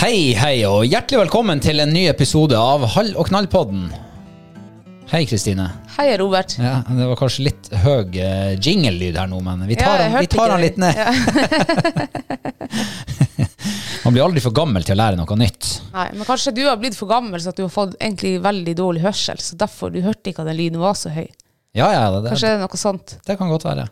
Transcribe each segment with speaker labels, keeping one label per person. Speaker 1: Hei, hei, og hjertelig velkommen til en ny episode av Hall og knall-podden. Hei, Kristine.
Speaker 2: Hei, Robert.
Speaker 1: Ja, det var kanskje litt høy eh, jingle-lyd her nå, men vi
Speaker 2: Ja,
Speaker 1: tar,
Speaker 2: jeg
Speaker 1: han,
Speaker 2: hørte
Speaker 1: vi tar
Speaker 2: ikke
Speaker 1: han
Speaker 2: det.
Speaker 1: litt ned. Man blir aldri for gammel til å lære noe nytt.
Speaker 2: Nei, men kanskje du har blitt for gammel, så at du har fått egentlig veldig dårlig hørsel. Så derfor du hørte ikke at den lyden var så høy.
Speaker 1: Ja, ja, det,
Speaker 2: Kanskje
Speaker 1: det,
Speaker 2: det er noe sånt.
Speaker 1: det kan godt være.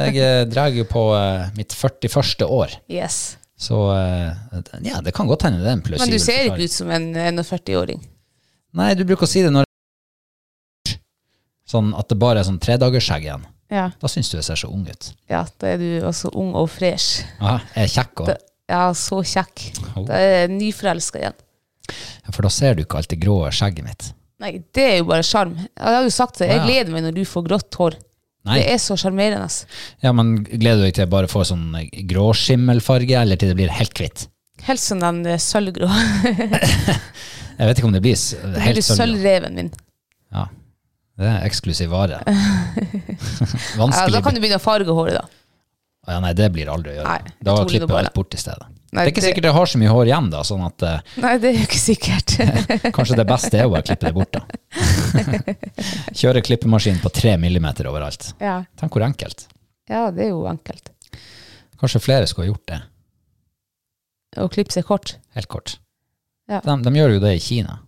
Speaker 1: Jeg eh, drar jo på eh, mitt 41. år,
Speaker 2: Yes.
Speaker 1: så eh, det- ja, det kan godt hende det er en plussivt.
Speaker 2: Men du ser ikke ut som en 41-åring.
Speaker 1: Nei, du bruker å si det når Sånn at det bare er sånn tredagersskjegg igjen.
Speaker 2: Ja.
Speaker 1: Da syns du jeg ser så ung ut.
Speaker 2: ja, da er du altså ung og fresh.
Speaker 1: Ja, jeg er kjekk òg.
Speaker 2: Da, ja, så kjekk.
Speaker 1: Oh.
Speaker 2: Da er jeg nyforelska igjen.
Speaker 1: For da ser du ikke alt det grå skjegget mitt.
Speaker 2: Nei, det er jo bare sjarm. Ja, Jeg har jo sagt det. Jeg
Speaker 1: Ja.
Speaker 2: gleder meg når du får grått hår.
Speaker 1: Nei,
Speaker 2: Det er så sjarmerende.
Speaker 1: ja, men Gleder du deg til jeg bare får sånn gråskimmelfarge, eller til det blir helt hvitt?
Speaker 2: Helt som den eh, sølvgrå.
Speaker 1: Jeg vet ikke om det blir s-
Speaker 2: Det blir
Speaker 1: helt
Speaker 2: du
Speaker 1: sølv.
Speaker 2: sølvreven min.
Speaker 1: Ja, det er eksklusiv vare.
Speaker 2: Ja,
Speaker 1: Vanskelig.
Speaker 2: da kan du begynne å farge håret, da.
Speaker 1: Ja, nei, det blir aldri å gjøre.
Speaker 2: Nei,
Speaker 1: da
Speaker 2: jeg tror det
Speaker 1: klipper jeg
Speaker 2: bare.
Speaker 1: alt bort i stedet.
Speaker 2: Nei,
Speaker 1: det er ikke
Speaker 2: det-
Speaker 1: sikkert jeg har så mye hår igjen, da, sånn at eh,
Speaker 2: Nei, det er jo ikke sikkert.
Speaker 1: kanskje det beste er å bare klippe det bort, da. Kjøre klippemaskin på tre millimeter overalt.
Speaker 2: ja.
Speaker 1: Tenk hvor enkelt.
Speaker 2: Ja, det er jo enkelt.
Speaker 1: Kanskje flere skulle ha gjort det.
Speaker 2: Å klippe seg kort,
Speaker 1: Helt kort.
Speaker 2: Ja.
Speaker 1: De, de gjør jo det i Kina.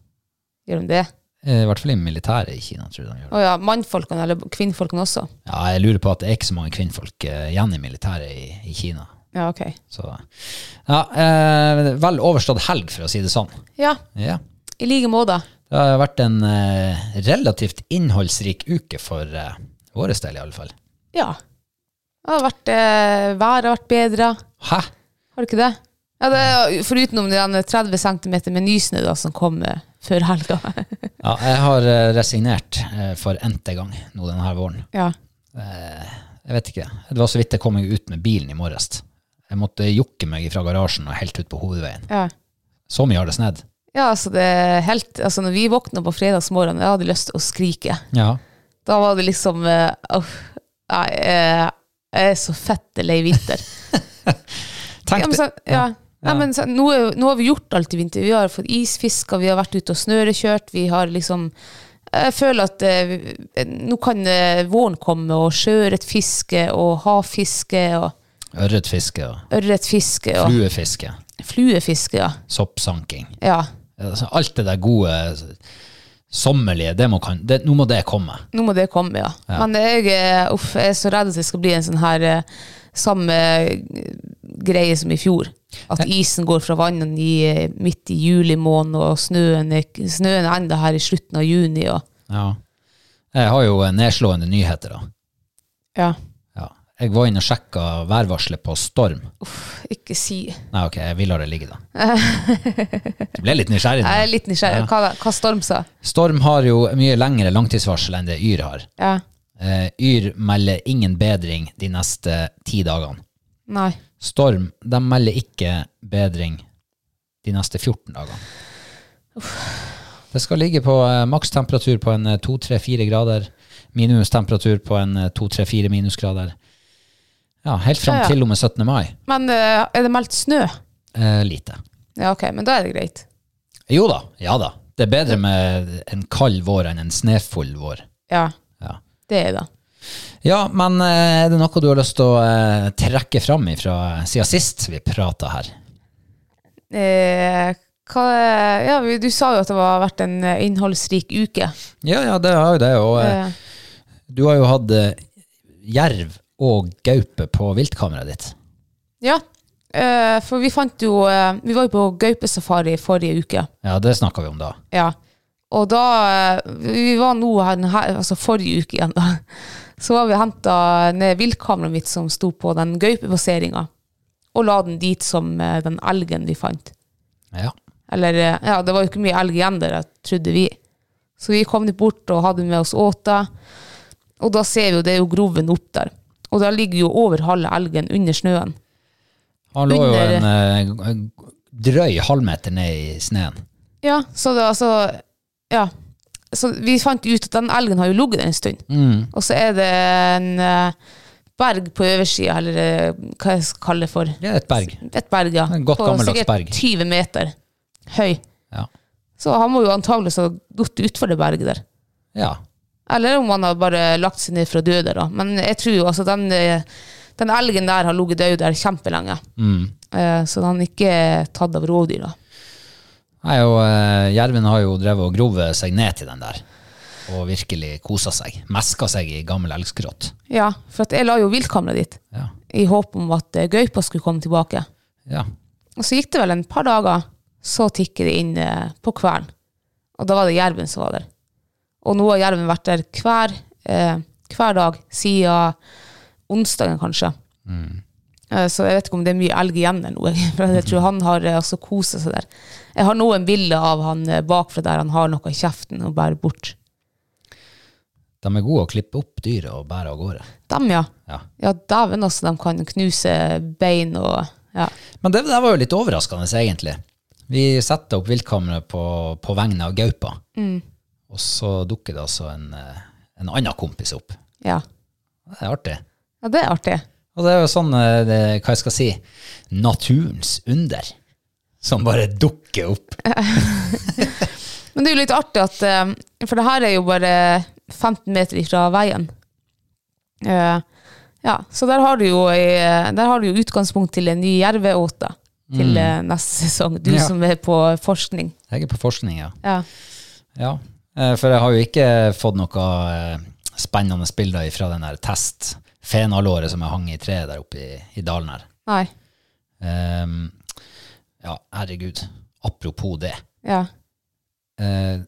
Speaker 2: gjør de det?
Speaker 1: Eh, I hvert fall i militæret i Kina, tror jeg de gjør det.
Speaker 2: Å ja, mannfolkene eller kvinnfolkene også?
Speaker 1: Ja, jeg lurer på at det er ikke så mange kvinnfolk eh, igjen i militæret i, i Kina.
Speaker 2: Ja, ok.
Speaker 1: Så, ja, eh, vel overstått helg, for å si det sånn.
Speaker 2: Ja,
Speaker 1: Ja.
Speaker 2: i like måte.
Speaker 1: Det har vært en eh, relativt innholdsrik uke for eh, vår del, i alle fall.
Speaker 2: Ja. Det har vært, eh, været har vært bedre.
Speaker 1: Hæ?
Speaker 2: Har det ikke det? Ja, det er- Foruten om den 30 cm med nysnø da, som kom eh, før helga.
Speaker 1: Ja, jeg har eh, resignert eh, for n-te gang nå denne våren.
Speaker 2: ja.
Speaker 1: Jeg vet ikke. Det var så vidt jeg kom meg ut med bilen i morges. Jeg måtte jokke meg fra garasjen og helt ut på hovedveien.
Speaker 2: ja.
Speaker 1: Så mye har det snedd.
Speaker 2: Ja, altså det er helt Altså når vi våkna på fredagsmorgenen, jeg hadde lyst til å skrike.
Speaker 1: Ja.
Speaker 2: Da var det liksom eh, Uff. Nei, eh, jeg er så fette lei vinter.
Speaker 1: Tenk
Speaker 2: Ja, men,
Speaker 1: det.
Speaker 2: så, ja. Nei, men så, nå, er jo- nå har vi gjort alt i vinter. Vi har fått isfiska, vi har vært ute og snørekjørt. Vi har liksom Jeg føler at eh, vi- nå kan eh, våren komme, og sjøørretfiske og havfiske og
Speaker 1: Ørretfiske og
Speaker 2: ørretfiske og
Speaker 1: fluefiske.
Speaker 2: fluefiske, ja.
Speaker 1: Soppsanking.
Speaker 2: ja.
Speaker 1: Altså, alt det der gode sommerlige, det må kan, det, nå må det komme.
Speaker 2: Nå må det komme, ja. Men jeg, eh, uff, jeg er så redd at det skal bli en sånn her eh, samme greie som i fjor. At isen går fra vannet i, eh, midt i juli måned, og snøen, er- snøen er enda her i slutten av juni. Og,
Speaker 1: Ja. Jeg har jo eh, nedslående nyheter, da.
Speaker 2: ja,
Speaker 1: Ja. Jeg var inne og sjekka værvarselet på storm.
Speaker 2: ikke si
Speaker 1: Nei, ok, jeg vil la det ligge, da. Du ble litt nysgjerrig.
Speaker 2: Jeg er
Speaker 1: nå.
Speaker 2: litt nysgjerrig. Hva, hva Storm sa?
Speaker 1: Storm har jo mye lengre langtidsvarsel enn det Yr har.
Speaker 2: Ja.
Speaker 1: Eh, Yr melder ingen bedring de neste ti dagene.
Speaker 2: Nei.
Speaker 1: Storm de melder ikke bedring de neste 14 dagene. Det skal ligge på eh, makstemperatur på en eh, 2-3-4 grader, minimumstemperatur på en eh, 2-3-4 minusgrader. Ja, helt fram
Speaker 2: Ja, ja.
Speaker 1: til og med 17. mai.
Speaker 2: Men eh, er det meldt snø?
Speaker 1: Eh, lite.
Speaker 2: Ja, ok, men da er det greit.
Speaker 1: Jo da, ja da. Det er bedre med en kald vår enn en snefull vår.
Speaker 2: Ja,
Speaker 1: Ja,
Speaker 2: det er det.
Speaker 1: ja men eh, er det noe du har lyst til å eh, trekke fram ifra eh, siden sist vi prata her?
Speaker 2: Eh, hva, ja, vi- du sa jo at det har vært en eh, innholdsrik uke.
Speaker 1: Ja, ja, det har jo det. Og eh,
Speaker 2: Eh,
Speaker 1: du har jo hatt eh, jerv og gaupe på viltkameraet ditt.
Speaker 2: ja, eh, for vi fant jo eh, Vi var jo på gaupesafari forrige uke.
Speaker 1: Ja, det snakka vi om da.
Speaker 2: Ja. Og da eh, Vi var nå her, den her altså forrige uke igjen, da. Så var vi henta ned viltkameraet mitt som sto på den gaupepasseringa, og la den dit som eh, den elgen vi fant.
Speaker 1: Ja.
Speaker 2: Eller eh, ja, det var jo ikke mye elg igjen der, jeg trodde vi. Så vi kom dit bort og hadde med oss åta. Og da ser vi jo det er jo groven opp der. Og da ligger jo over halve elgen under snøen.
Speaker 1: Han lå jo
Speaker 2: Under-
Speaker 1: en eh, drøy halvmeter ned i sneen.
Speaker 2: Ja, så det altså Ja. Så vi fant ut at den elgen har jo ligget der en stund.
Speaker 1: Mm.
Speaker 2: Og så er det en eh, berg på øversida, eller eh, hva jeg skal kalle det for.
Speaker 1: Det er et berg.
Speaker 2: Et berg, ja.
Speaker 1: En godt
Speaker 2: på
Speaker 1: gammeldags
Speaker 2: sikkert
Speaker 1: berg.
Speaker 2: 20 meter høy.
Speaker 1: Ja.
Speaker 2: Så han må jo antagelig ha gått utfor det berget der.
Speaker 1: ja.
Speaker 2: Eller om han har bare lagt seg ned for å dø der, da. Men jeg tror jo altså den, eh, den elgen der har ligget død der kjempelenge.
Speaker 1: Mm.
Speaker 2: Eh, Så han er ikke tatt av rovdyr, da.
Speaker 1: Nei, og eh, jerven har jo drevet og grovet seg ned til den der. Og virkelig kosa seg. Meska seg i gammel elgskrott.
Speaker 2: Ja, for at jeg la jo viltkameraet dit
Speaker 1: Ja.
Speaker 2: i håp om at eh, gaupa skulle komme tilbake.
Speaker 1: ja.
Speaker 2: Og så gikk det vel en par dager, så tikket det inn eh, på kvern. Og da var det jerven som var der. Og nå har jerven vært der hver, eh, hver dag siden onsdagen, kanskje. Eh, så jeg vet ikke om det er mye elg igjen eller noe. For jeg tror han har eh, altså kosa seg der. Jeg har noen bilder av han eh, bakfra der han har noe i kjeften og bærer bort.
Speaker 1: De er gode å klippe opp dyret og bære av gårde.
Speaker 2: Dem, ja.
Speaker 1: Ja.
Speaker 2: Ja, dæven, altså. De kan knuse bein og ja.
Speaker 1: Men det, det var jo litt overraskende, egentlig. Vi setter opp viltkameraet på, på vegne av gaupa. Og så dukker det altså en, eh, en annen kompis opp.
Speaker 2: ja.
Speaker 1: Det er artig.
Speaker 2: Ja, det er artig.
Speaker 1: Og det er jo sånn, eh, det, hva jeg skal si, naturens under. Som bare dukker opp.
Speaker 2: Men det er jo litt artig at eh, For det her er jo bare 15 meter ifra veien. Eh, ja, så der har du jo, eh, der har du jo utgangspunkt til en ny jerveåte til eh, neste sesong. Du
Speaker 1: Ja.
Speaker 2: som er på forskning.
Speaker 1: Jeg er på forskning, ja.
Speaker 2: Ja.
Speaker 1: Ja, eh, for jeg har jo ikke fått noe eh, spennende bilder fra den der test fenalåret som jeg hang i treet der oppe i, i dalen her.
Speaker 2: Nei.
Speaker 1: Ehm, ja, herregud. Apropos det.
Speaker 2: Ja.
Speaker 1: Eh,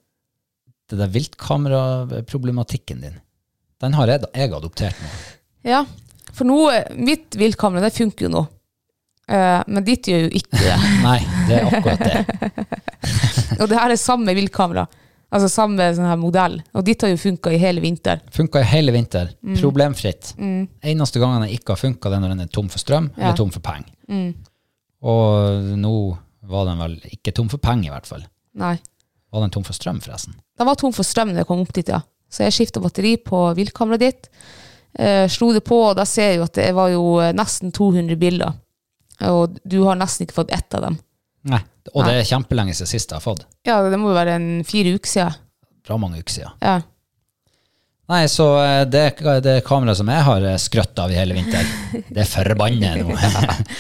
Speaker 1: det der viltkameraproblematikken din, den har jeg, da- jeg adoptert nå.
Speaker 2: ja. For nå, eh, mitt viltkamera, det funker jo nå. Eh, men ditt gjør jo ikke det.
Speaker 1: Nei, det er akkurat det.
Speaker 2: Og det her er samme viltkamera. Altså samme sånn her modell. Og ditt har jo funka i hele vinter.
Speaker 1: Funka i hele vinter. Problemfritt. Eneste gangen jeg ikke har funka, det er når den er tom for strøm eller tom for penger. Og nå var den vel ikke tom for penger, i hvert fall.
Speaker 2: Nei.
Speaker 1: Var den tom for strøm, forresten?
Speaker 2: Den var tom for strøm da jeg kom opp dit, ja. Så jeg skifta batteri på viltkameraet ditt. Eh, slo det på, og da ser jeg jo at det var jo eh, nesten 200 bilder. Og du har nesten ikke fått ett av dem.
Speaker 1: Nei. Og det er kjempelenge siden sist jeg har fått.
Speaker 2: Ja, det må jo være en fire uker siden.
Speaker 1: Bra mange uker siden.
Speaker 2: Ja.
Speaker 1: Nei, så eh, det, det kameraet som jeg har eh, skrøtt av i hele vinter, det forbanner jeg nå.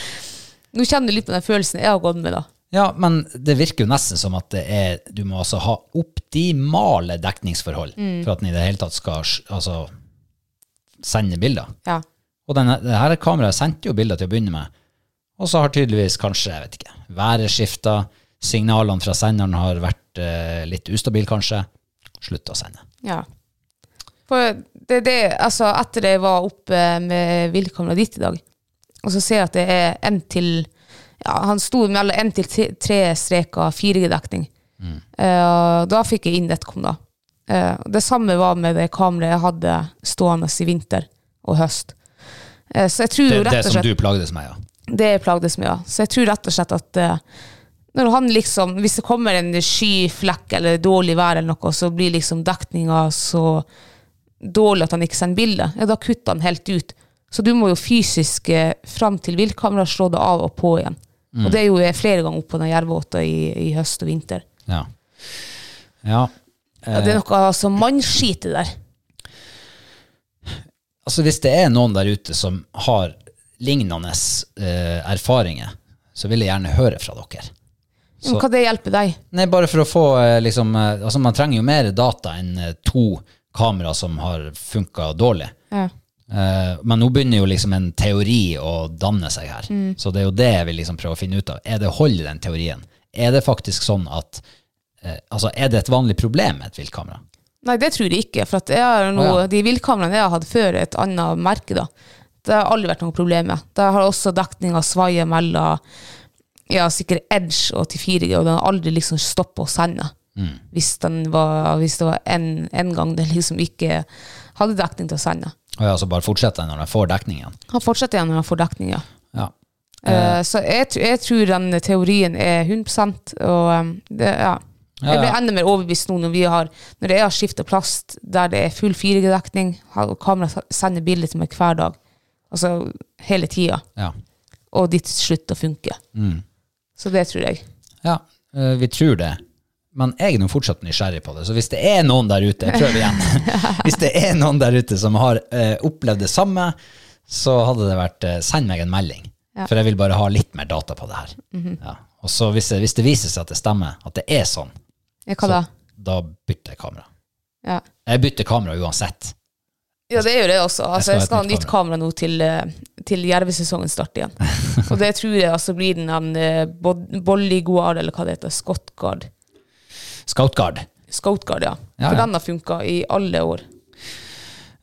Speaker 2: Nå kjenner du litt på den følelsen jeg har gått med, da.
Speaker 1: Ja, men det virker jo nesten som at det er, du må altså ha optimale dekningsforhold
Speaker 2: Mm.
Speaker 1: for at den i det hele tatt skal s- altså, sende bilder.
Speaker 2: Ja.
Speaker 1: Og denne, det her kameraet sendte jo bilder til å begynne med, Og så har tydeligvis kanskje, jeg vet ikke, været skifta, signalene fra senderen har vært eh, litt ustabile kanskje. Slutt å sende.
Speaker 2: Ja. For det, det, altså, etter jeg var oppe med Vilkamera dit i dag, og så ser jeg at det er en til ja, Han sto mellom en til tre- tre streker 4G-dekning.
Speaker 1: Mm.
Speaker 2: Eh, og da fikk jeg inn Netcom, da. Eh, og det samme var med det kameraet jeg hadde stående i vinter og høst. Eh, så jeg tror
Speaker 1: Det
Speaker 2: jo
Speaker 1: er
Speaker 2: rett
Speaker 1: det
Speaker 2: og
Speaker 1: som
Speaker 2: slett
Speaker 1: du plagdes med, ja.
Speaker 2: det jeg plagdes med, ja. Så jeg tror rett og slett at eh, når han liksom, hvis det kommer en skyflekk eller dårlig vær eller noe, så blir liksom dekninga så dårlig at han ikke sender bilde. Ja, da kutter han helt ut. Så du må jo fysisk eh, fram til viltkamera slå det av og på igjen. Og det gjorde jeg flere ganger oppå den jervåta i, i høst og vinter.
Speaker 1: Ja. ja.
Speaker 2: Ja, det er noe altså, mannskit det der.
Speaker 1: Altså hvis det er noen der ute som har lignende eh, erfaringer, så vil jeg gjerne høre fra dere.
Speaker 2: Men hva det hjelper deg?
Speaker 1: Nei, bare for å få eh, liksom eh, Altså, man trenger jo mer data enn eh, to kamera som har funka dårlig.
Speaker 2: Ja.
Speaker 1: Eh, men nå begynner jo liksom en teori å danne seg her. Så det er jo det jeg vil liksom prøve å finne ut av. Er det hold i den teorien? Er det faktisk sånn at eh, Altså, er det et vanlig problem med et viltkamera?
Speaker 2: Nei, det tror jeg ikke. For at jeg har noe,
Speaker 1: Å, ja.
Speaker 2: de villkameraene jeg har hatt før, et annet merke, da. Det har aldri vært noe problem med. Det har også dekninga svaia mellom ja, sikkert Edge og til 4G, og den har aldri liksom stoppa å sende.
Speaker 1: Mm.
Speaker 2: Hvis, den var, hvis det var en, en gang den liksom ikke hadde dekning til å sende.
Speaker 1: Og ja, så bare fortsetter jeg når jeg får dekning igjen.
Speaker 2: Han fortsetter igjen når han får dekning, ja.
Speaker 1: Ja.
Speaker 2: Eh, så jeg, tr- jeg tror den teorien er 100 og um, det, ja. Jeg blir
Speaker 1: ja.
Speaker 2: enda mer overbevist nå når, vi har, når jeg har skifta plast der det er full 4G-dekning, og kameraet sender bilder til meg hver dag, altså hele tida,
Speaker 1: ja.
Speaker 2: og ditt slutter å funke.
Speaker 1: Mm.
Speaker 2: Så det tror jeg.
Speaker 1: Ja, eh, vi tror det. Men jeg er nå fortsatt nysgjerrig på det, så hvis det er noen der ute jeg prøver igjen, hvis det er noen der ute som har eh, opplevd det samme, så hadde det vært eh, send meg en melding. For jeg vil bare ha litt mer data på det her.
Speaker 2: Mhm.
Speaker 1: ja. Og så hvis, det- hvis det viser seg at det stemmer, at det er sånn,
Speaker 2: Ja, Hva da?
Speaker 1: da bytter jeg kamera.
Speaker 2: Ja.
Speaker 1: Jeg bytter kamera uansett.
Speaker 2: ja, det gjør jeg også. Altså,
Speaker 1: Jeg skal ha
Speaker 2: jeg
Speaker 1: et
Speaker 2: skal ha
Speaker 1: nytt
Speaker 2: nytt kamera nå til, eh, til jervesesongen starter igjen. Og det tror jeg altså blir den eh, bod- Bollyguard, eller hva det heter, Scottguard.
Speaker 1: Scoutguard.
Speaker 2: Scoutguard, ja.
Speaker 1: Ja,
Speaker 2: For
Speaker 1: ja.
Speaker 2: den har funka i alle år.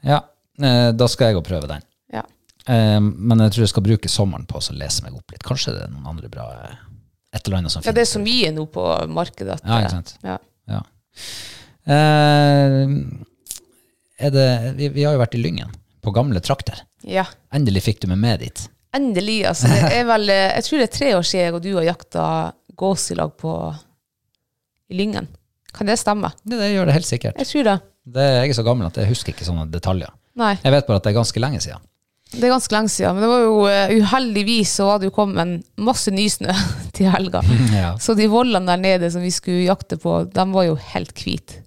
Speaker 1: Ja, eh, da skal jeg og prøve den.
Speaker 2: Ja.
Speaker 1: Eh, men jeg tror jeg skal bruke sommeren på å lese meg opp litt. Kanskje det er noen andre bra eh, et eller annet som
Speaker 2: ja, det er
Speaker 1: finnes.
Speaker 2: så mye nå på markedet. At,
Speaker 1: Ja, ikke sant.
Speaker 2: Ja.
Speaker 1: Ja. Eh, er det, vi, vi har jo vært i Lyngen, på gamle trakter.
Speaker 2: ja.
Speaker 1: Endelig fikk du meg med dit.
Speaker 2: Endelig, altså. Det er vel, eh, jeg tror det er tre år siden jeg og du har jakta gås i lag på i Lyngen. Kan det stemme?
Speaker 1: Det, det gjør det helt sikkert.
Speaker 2: Jeg tror det.
Speaker 1: Det, jeg er så gammel at jeg husker ikke sånne detaljer.
Speaker 2: Nei,
Speaker 1: Jeg vet bare at det er ganske lenge siden.
Speaker 2: det er ganske lenge siden. Men det var jo eh, uheldigvis så var det jo kommet en masse nysnø til helga.
Speaker 1: Ja.
Speaker 2: Så de vollene der nede som vi skulle jakte på, de var jo helt hvite.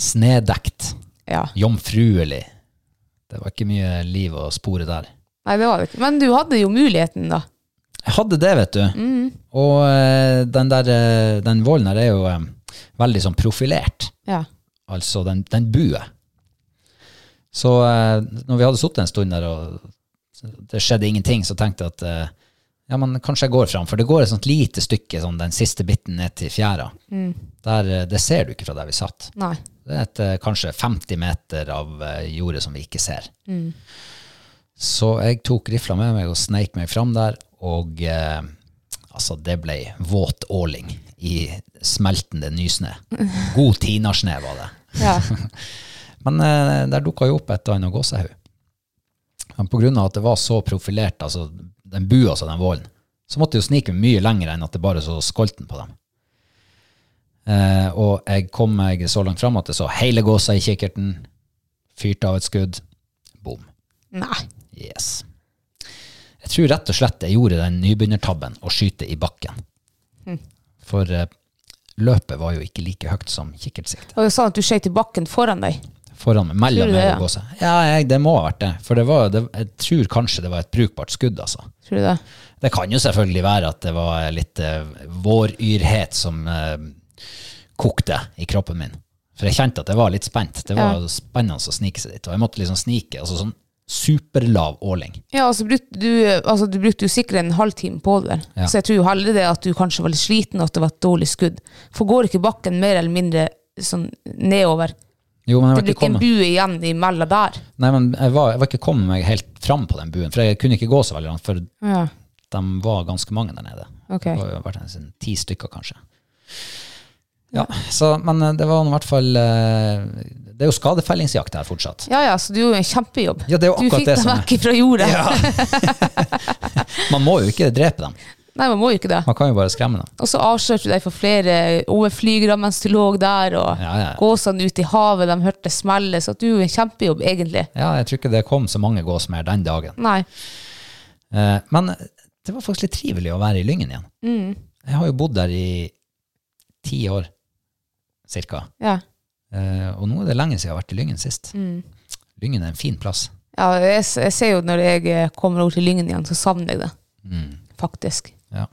Speaker 1: Snedekt,
Speaker 2: Ja.
Speaker 1: jomfruelig. Det var ikke mye liv å spore der.
Speaker 2: Nei, det var det ikke. Men du hadde jo muligheten, da.
Speaker 1: Jeg hadde det, vet du. Og eh, den der, eh, den volden her er jo eh, veldig sånn profilert.
Speaker 2: Ja.
Speaker 1: altså den, den bue. Så eh, når vi hadde sittet en stund der og det skjedde ingenting, så tenkte jeg at eh, ja, men kanskje jeg går fram, for det går et sånt lite stykke, sånn den siste biten ned til fjæra. Der, eh, det ser du ikke fra der vi satt.
Speaker 2: Nei.
Speaker 1: Det er et, eh, kanskje 50 meter av eh, jordet som vi ikke ser. Så jeg tok rifla med meg og sneik meg fram der, og eh, altså det ble våt åling i smeltende nysnø. God tinasnø var det.
Speaker 2: Ja.
Speaker 1: Men eh, der dukka jo opp et eller annet gåsehud. Men på grunn av at det var så profilert, altså den bua som den vålen, så måtte jeg jo snike mye lenger enn at det bare så skolten på dem. Eh, og jeg kom meg så langt fram at jeg så hele gåsa i kikkerten, fyrte av et skudd, bom.
Speaker 2: Nei.
Speaker 1: Yes. Jeg tror rett og slett jeg gjorde den nybegynnertabben å skyte i bakken. For eh, løpet var jo ikke like høyt som kikkertsiktet.
Speaker 2: Og jeg sa sånn at du skjøt i bakken foran deg.
Speaker 1: Foran meg,
Speaker 2: Tror
Speaker 1: mellom
Speaker 2: du det,
Speaker 1: meg
Speaker 2: ja?
Speaker 1: og gåsa. Ja, jeg, det må ha vært det. For det var, det, jeg tror kanskje det var et brukbart skudd, altså.
Speaker 2: Tror du det?
Speaker 1: Det kan jo selvfølgelig være at det var litt eh, våryrhet som eh, kokte i kroppen min. For jeg kjente at jeg var litt spent. Det var
Speaker 2: Ja.
Speaker 1: spennende å snike seg dit. Og jeg måtte liksom snike, altså sånn superlav åling.
Speaker 2: Ja, altså, bruk, du, altså, du brukte jo sikkert en halvtime på det. der.
Speaker 1: Ja.
Speaker 2: Så jeg tror jo heller det at du kanskje var litt sliten, og at det var et dårlig skudd. For går ikke bakken mer eller mindre sånn nedover?
Speaker 1: Jo, men jeg
Speaker 2: Det
Speaker 1: var
Speaker 2: blir
Speaker 1: ikke
Speaker 2: ikke en
Speaker 1: kommet.
Speaker 2: bue igjen imellom der.
Speaker 1: Nei, men jeg var, jeg var ikke kommet meg helt fram på den buen, for jeg kunne ikke gå så veldig langt, for
Speaker 2: Ja,
Speaker 1: de var ganske mange der nede.
Speaker 2: ok.
Speaker 1: Det var jo vært en sånn ti stykker, kanskje. Ja, så, Men eh, det var nå i hvert fall eh, Det er jo skadefellingsjakt her fortsatt.
Speaker 2: Ja, ja, så du gjorde en kjempejobb.
Speaker 1: Ja, det er jo
Speaker 2: du
Speaker 1: akkurat
Speaker 2: fikk
Speaker 1: det
Speaker 2: dem
Speaker 1: som er-
Speaker 2: vekk fra jorda.
Speaker 1: Man må jo ikke drepe dem.
Speaker 2: Nei, man må jo ikke det.
Speaker 1: Man kan jo bare skremme dem.
Speaker 2: Og så avslørte du deg for flere overflygere mens du lå der, og
Speaker 1: Ja, ja, ja.
Speaker 2: gåsene ute i havet, de hørte smellet, så at du gjorde en kjempejobb, egentlig.
Speaker 1: Ja, Jeg tror ikke det kom så mange gås mer den dagen.
Speaker 2: Nei.
Speaker 1: Eh, Men det var faktisk litt trivelig å være i Lyngen igjen.
Speaker 2: Mm.
Speaker 1: Jeg har jo bodd der i ti år, cirka.
Speaker 2: Ja.
Speaker 1: Eh, Og nå er det lenge siden jeg har vært i Lyngen sist.
Speaker 2: Mm.
Speaker 1: Lyngen er en fin plass.
Speaker 2: Ja, jeg, s- jeg ser jo når jeg eh, kommer over til Lyngen igjen, så savner jeg det. Faktisk.
Speaker 1: Ja.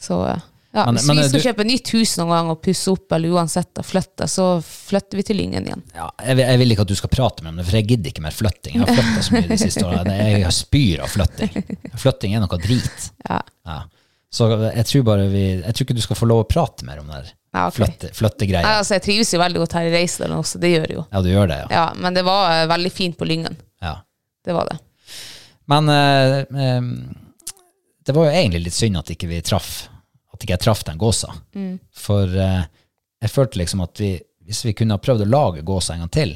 Speaker 2: Så eh,
Speaker 1: Mm.
Speaker 2: ja,
Speaker 1: Men-
Speaker 2: hvis
Speaker 1: men, eh,
Speaker 2: vi skal
Speaker 1: du-
Speaker 2: kjøpe nytt hus noen gang og pusse opp, eller uansett da, flytte, så flytter vi til Lyngen igjen.
Speaker 1: Ja, jeg, vil, jeg vil ikke at du skal prate med meg om det, for jeg gidder ikke mer flytting. Jeg har flytta så mye de siste årene. Jeg spyr av flytting. Flytting er noe drit.
Speaker 2: Ja.
Speaker 1: Ja. Så jeg tror bare vi Jeg tror ikke du skal få lov å prate mer om det her.
Speaker 2: Ja, ok.
Speaker 1: Flytte- Flyttegreier.
Speaker 2: Nei, altså, jeg trives jo veldig godt her i Reisedalen også, det gjør jeg jo.
Speaker 1: Ja, du gjør det, ja.
Speaker 2: Ja, men det var eh, veldig fint på Lyngen.
Speaker 1: ja.
Speaker 2: Det var det.
Speaker 1: Men eh, eh, det var jo egentlig litt synd at ikke vi traff At ikke jeg traff den gåsa.
Speaker 2: Mm.
Speaker 1: For eh, jeg følte liksom at vi, hvis vi kunne ha prøvd å lage gåsa en gang til,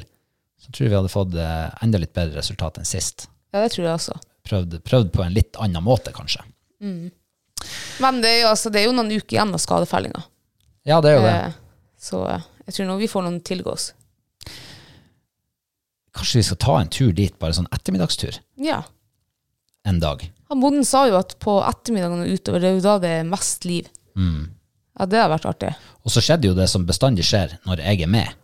Speaker 1: så tror jeg vi hadde fått eh, enda litt bedre resultat enn sist.
Speaker 2: Ja, det tror jeg også.
Speaker 1: Prøvd, prøvd på en litt annen måte, kanskje.
Speaker 2: Men det er jo, altså, det er jo noen uker igjen av skadefellinga.
Speaker 1: Ja, det er jo det.
Speaker 2: Eh, Så eh, jeg tror nå vi får noen tilgås.
Speaker 1: Kanskje vi skal ta en tur dit, bare sånn ettermiddagstur
Speaker 2: Ja.
Speaker 1: en dag.
Speaker 2: Han bonden sa jo at på ettermiddagene og utover, det er jo da det er mest liv.
Speaker 1: Mm.
Speaker 2: Ja, det har vært artig.
Speaker 1: Og så skjedde jo det som bestandig skjer når jeg er med.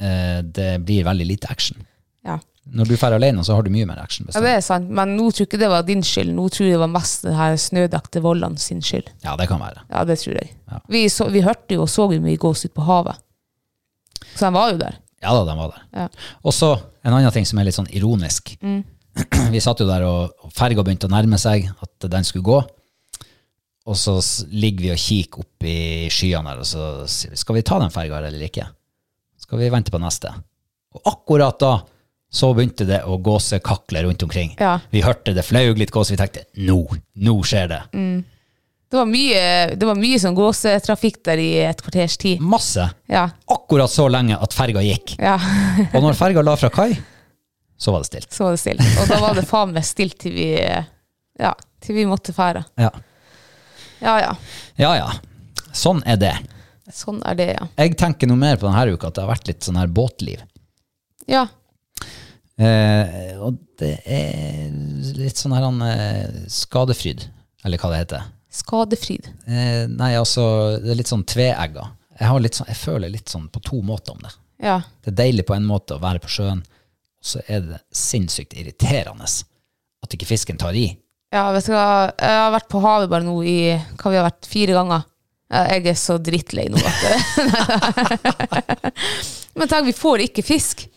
Speaker 1: Eh, det blir veldig lite action.
Speaker 2: Ja.
Speaker 1: Når du drar alene, så har du mye mer action.
Speaker 2: ja,
Speaker 1: bestandig.
Speaker 2: det er sant, men nå tror jeg ikke det var din skyld. Nå tror jeg det var mest den her snødekte Vollan sin skyld.
Speaker 1: Ja, det kan være.
Speaker 2: Ja, det tror jeg.
Speaker 1: Ja.
Speaker 2: Vi, så, vi hørte jo og så jo mye gås ut på havet. Så han var jo der.
Speaker 1: Ja da, den var der.
Speaker 2: Ja. Mm.
Speaker 1: Og så en annen ting som er litt sånn ironisk. Vi satt jo der, og og ferga begynte å nærme seg at den skulle gå. Og så s- ligger vi og kikker opp i skyene her, og så sier vi skal vi ta den ferga her eller ikke? Skal vi vente på neste? Og akkurat da så begynte det å gåsekakle rundt omkring.
Speaker 2: Ja.
Speaker 1: Vi hørte det flaug litt gås, vi tenkte nå, nå skjer det.
Speaker 2: Mm. Det var mye, det var mye sånn gåsetrafikk der i et kvarters tid.
Speaker 1: Masse.
Speaker 2: Ja.
Speaker 1: Akkurat så lenge at ferga gikk.
Speaker 2: ja.
Speaker 1: Og når ferga la fra kai, så var det stilt.
Speaker 2: Så var det stille. Og da var det faen meg stille til vi Ja, til vi måtte fære.
Speaker 1: Ja.
Speaker 2: Ja ja.
Speaker 1: Ja, ja. Sånn er det.
Speaker 2: Sånn er det, ja.
Speaker 1: Jeg tenker noe mer på denne uka at det har vært litt sånn her båtliv.
Speaker 2: Ja.
Speaker 1: Eh, og det er litt sånn her han, eh, skadefryd, eller hva det heter.
Speaker 2: Skadefryd.
Speaker 1: Eh, nei, altså, det er litt sånn tveegga. Jeg, har litt sånn, jeg føler litt sånn på to måter om det.
Speaker 2: Ja.
Speaker 1: Det er deilig på en måte å være på sjøen, og så er det sinnssykt irriterende at ikke fisken tar i.
Speaker 2: Ja, vet du hva? Jeg har vært på havet bare nå i hva vi har vært, fire ganger. Ja, Jeg er så drittlei nå. at- Men tenk, vi får ikke fisk.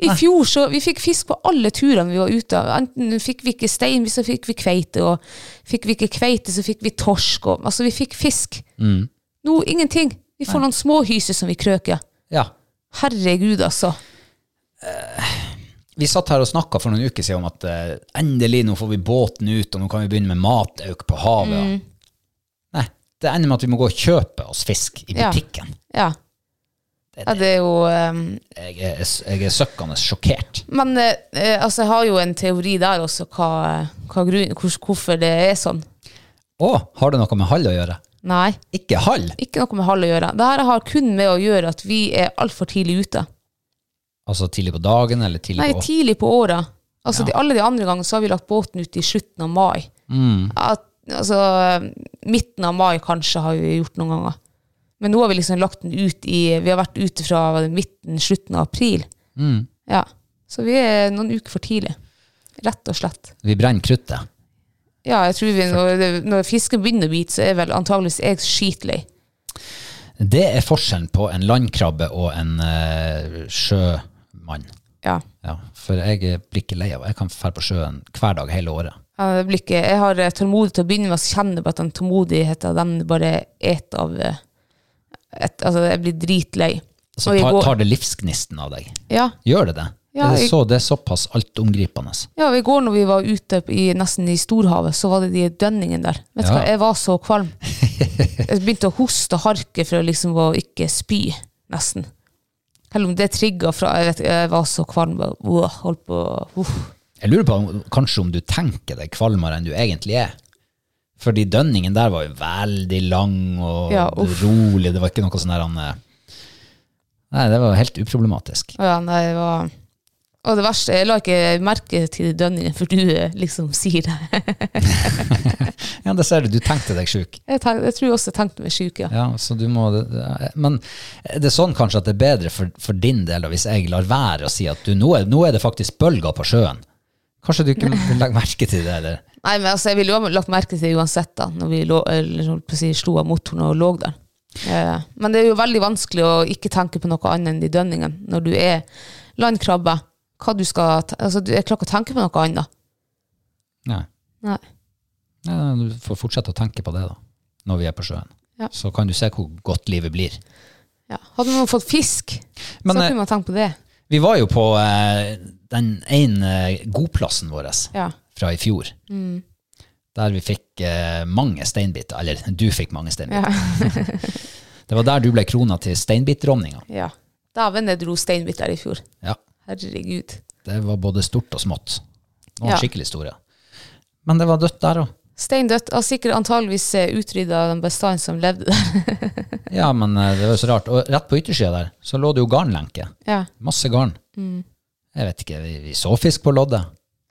Speaker 2: I fjor så, Vi fikk fisk på alle turene vi var ute. av. Enten fikk vi ikke stein, så fikk vi kveite. Og fikk vi ikke kveite, så fikk vi torsk. Og, altså, vi fikk fisk. Nå ingenting. Vi får noen småhyser som vi krøker.
Speaker 1: Ja,
Speaker 2: Herregud, altså.
Speaker 1: vi satt her og snakka for noen uker siden om at eh, endelig, nå får vi båten ut, og nå kan vi begynne med matauk på havet. og-
Speaker 2: Mm.
Speaker 1: Nei, det ender med at vi må gå og kjøpe oss fisk i
Speaker 2: Ja.
Speaker 1: butikken.
Speaker 2: Ja. ja det er jo ehm,
Speaker 1: Jeg, er, jeg er søkkende sjokkert.
Speaker 2: Men eh, eh, altså, jeg har jo en teori der også, hva, hva grunn, hvor, hvorfor det er sånn.
Speaker 1: Å, har det noe med hall å gjøre?
Speaker 2: Nei,
Speaker 1: Ikke hall!
Speaker 2: ikke noe med hall å gjøre. Dette har kun med å gjøre at vi er altfor tidlig ute.
Speaker 1: Altså tidlig på dagen eller tidlig
Speaker 2: Nei,
Speaker 1: på
Speaker 2: tidlig på året. Altså, de, alle de andre gangene så har vi lagt båten ut i slutten av mai. At, altså, midten av mai kanskje har vi gjort noen ganger. Men nå har vi liksom lagt den ut i Vi har vært ute fra hva det, midten, slutten av april. Ja. Så vi er noen uker for tidlig. Rett og slett.
Speaker 1: Vi brenner kruttet.
Speaker 2: Ja, jeg tror vi, når, det- når fisken begynner å bite, så er vel antageligvis jeg skitlei.
Speaker 1: Det er forskjellen på en landkrabbe og en eh, sjømann.
Speaker 2: Ja.
Speaker 1: Ja, for jeg blir ikke lei av det. Jeg kan dra på sjøen hver dag hele året.
Speaker 2: Ja, det blir ikke, jeg har eh, tålmodighet til å begynne med å kjenne på at den tålmodigheten den bare et av eh, et, Altså, jeg blir dritlei.
Speaker 1: Så
Speaker 2: Og i
Speaker 1: tar,
Speaker 2: går-
Speaker 1: tar det livsgnisten av deg.
Speaker 2: Ja.
Speaker 1: Gjør det det?
Speaker 2: Ja,
Speaker 1: er det,
Speaker 2: jeg-
Speaker 1: så, det er såpass altomgripende.
Speaker 2: ja, og i går når vi var ute i, nesten i Storhavet, så var det de dønningene der. Vet du
Speaker 1: Ja.
Speaker 2: hva, jeg var så kvalm. Jeg begynte å hoste og harke for å liksom å ikke spy, nesten. Selv om det trigga fra Jeg vet, jeg var så kvalm. bare, Wow, holdt på uff.
Speaker 1: Jeg lurer på om, kanskje om du tenker deg kvalmere enn du egentlig er. Fordi dønningen der var jo veldig lang og
Speaker 2: Ja, uff.
Speaker 1: rolig. Det var ikke noe sånn der han eh, Nei, det var helt uproblematisk.
Speaker 2: Å Ja, nei, det var... Og det verste, jeg la ikke merke til de dønningene, for du eh, liksom sier det.
Speaker 1: Ja, det ser du. Du tenkte deg sjuk.
Speaker 2: Jeg, tenk, jeg tror også jeg tenkte meg sjuk, ja.
Speaker 1: Ja, så du må det- det- Men er det sånn kanskje at det er bedre for, for din del da, hvis jeg lar være å si at du, nå, er, nå er det faktisk bølger på sjøen? Kanskje du ikke vil legge merke til det? Eller?
Speaker 2: Nei, men altså, jeg ville jo ha lagt merke til det uansett da, når vi lå, eller, holdt på å si, slo av motoren og lå der. Eh, men det er jo veldig vanskelig å ikke tenke på noe annet enn de dønningene, når du er landkrabbe. Hva du skal... te- Altså, du, jeg klarer ikke å tenke på noe annet.
Speaker 1: Nei.
Speaker 2: Nei.
Speaker 1: Ja, du får fortsette å tenke på det da, når vi er på sjøen.
Speaker 2: Ja.
Speaker 1: Så kan du se hvor godt livet blir.
Speaker 2: Ja. Hadde man fått fisk,
Speaker 1: Men,
Speaker 2: så
Speaker 1: eh,
Speaker 2: kunne man tenkt på det.
Speaker 1: Vi var jo på eh, den ene godplassen vår
Speaker 2: Ja.
Speaker 1: fra i fjor,
Speaker 2: Mm.
Speaker 1: der vi fikk eh, mange steinbiter. Eller du fikk mange steinbiter. det var der du ble krona til steinbitdronninga.
Speaker 2: Ja. Daven jeg dro steinbit der i fjor.
Speaker 1: Ja.
Speaker 2: Herregud.
Speaker 1: Det var både stort og smått. Noen
Speaker 2: Ja.
Speaker 1: skikkelig store. Men det var dødt der òg.
Speaker 2: Steindødt. Har sikkert antageligvis utrydda den bestanden som levde der.
Speaker 1: Ja, men eh, det var jo så rart. Og rett på yttersida der så lå det jo garnlenke.
Speaker 2: Ja.
Speaker 1: Masse garn.
Speaker 2: Mm.
Speaker 1: Jeg vet ikke, vi, vi så fisk på loddet.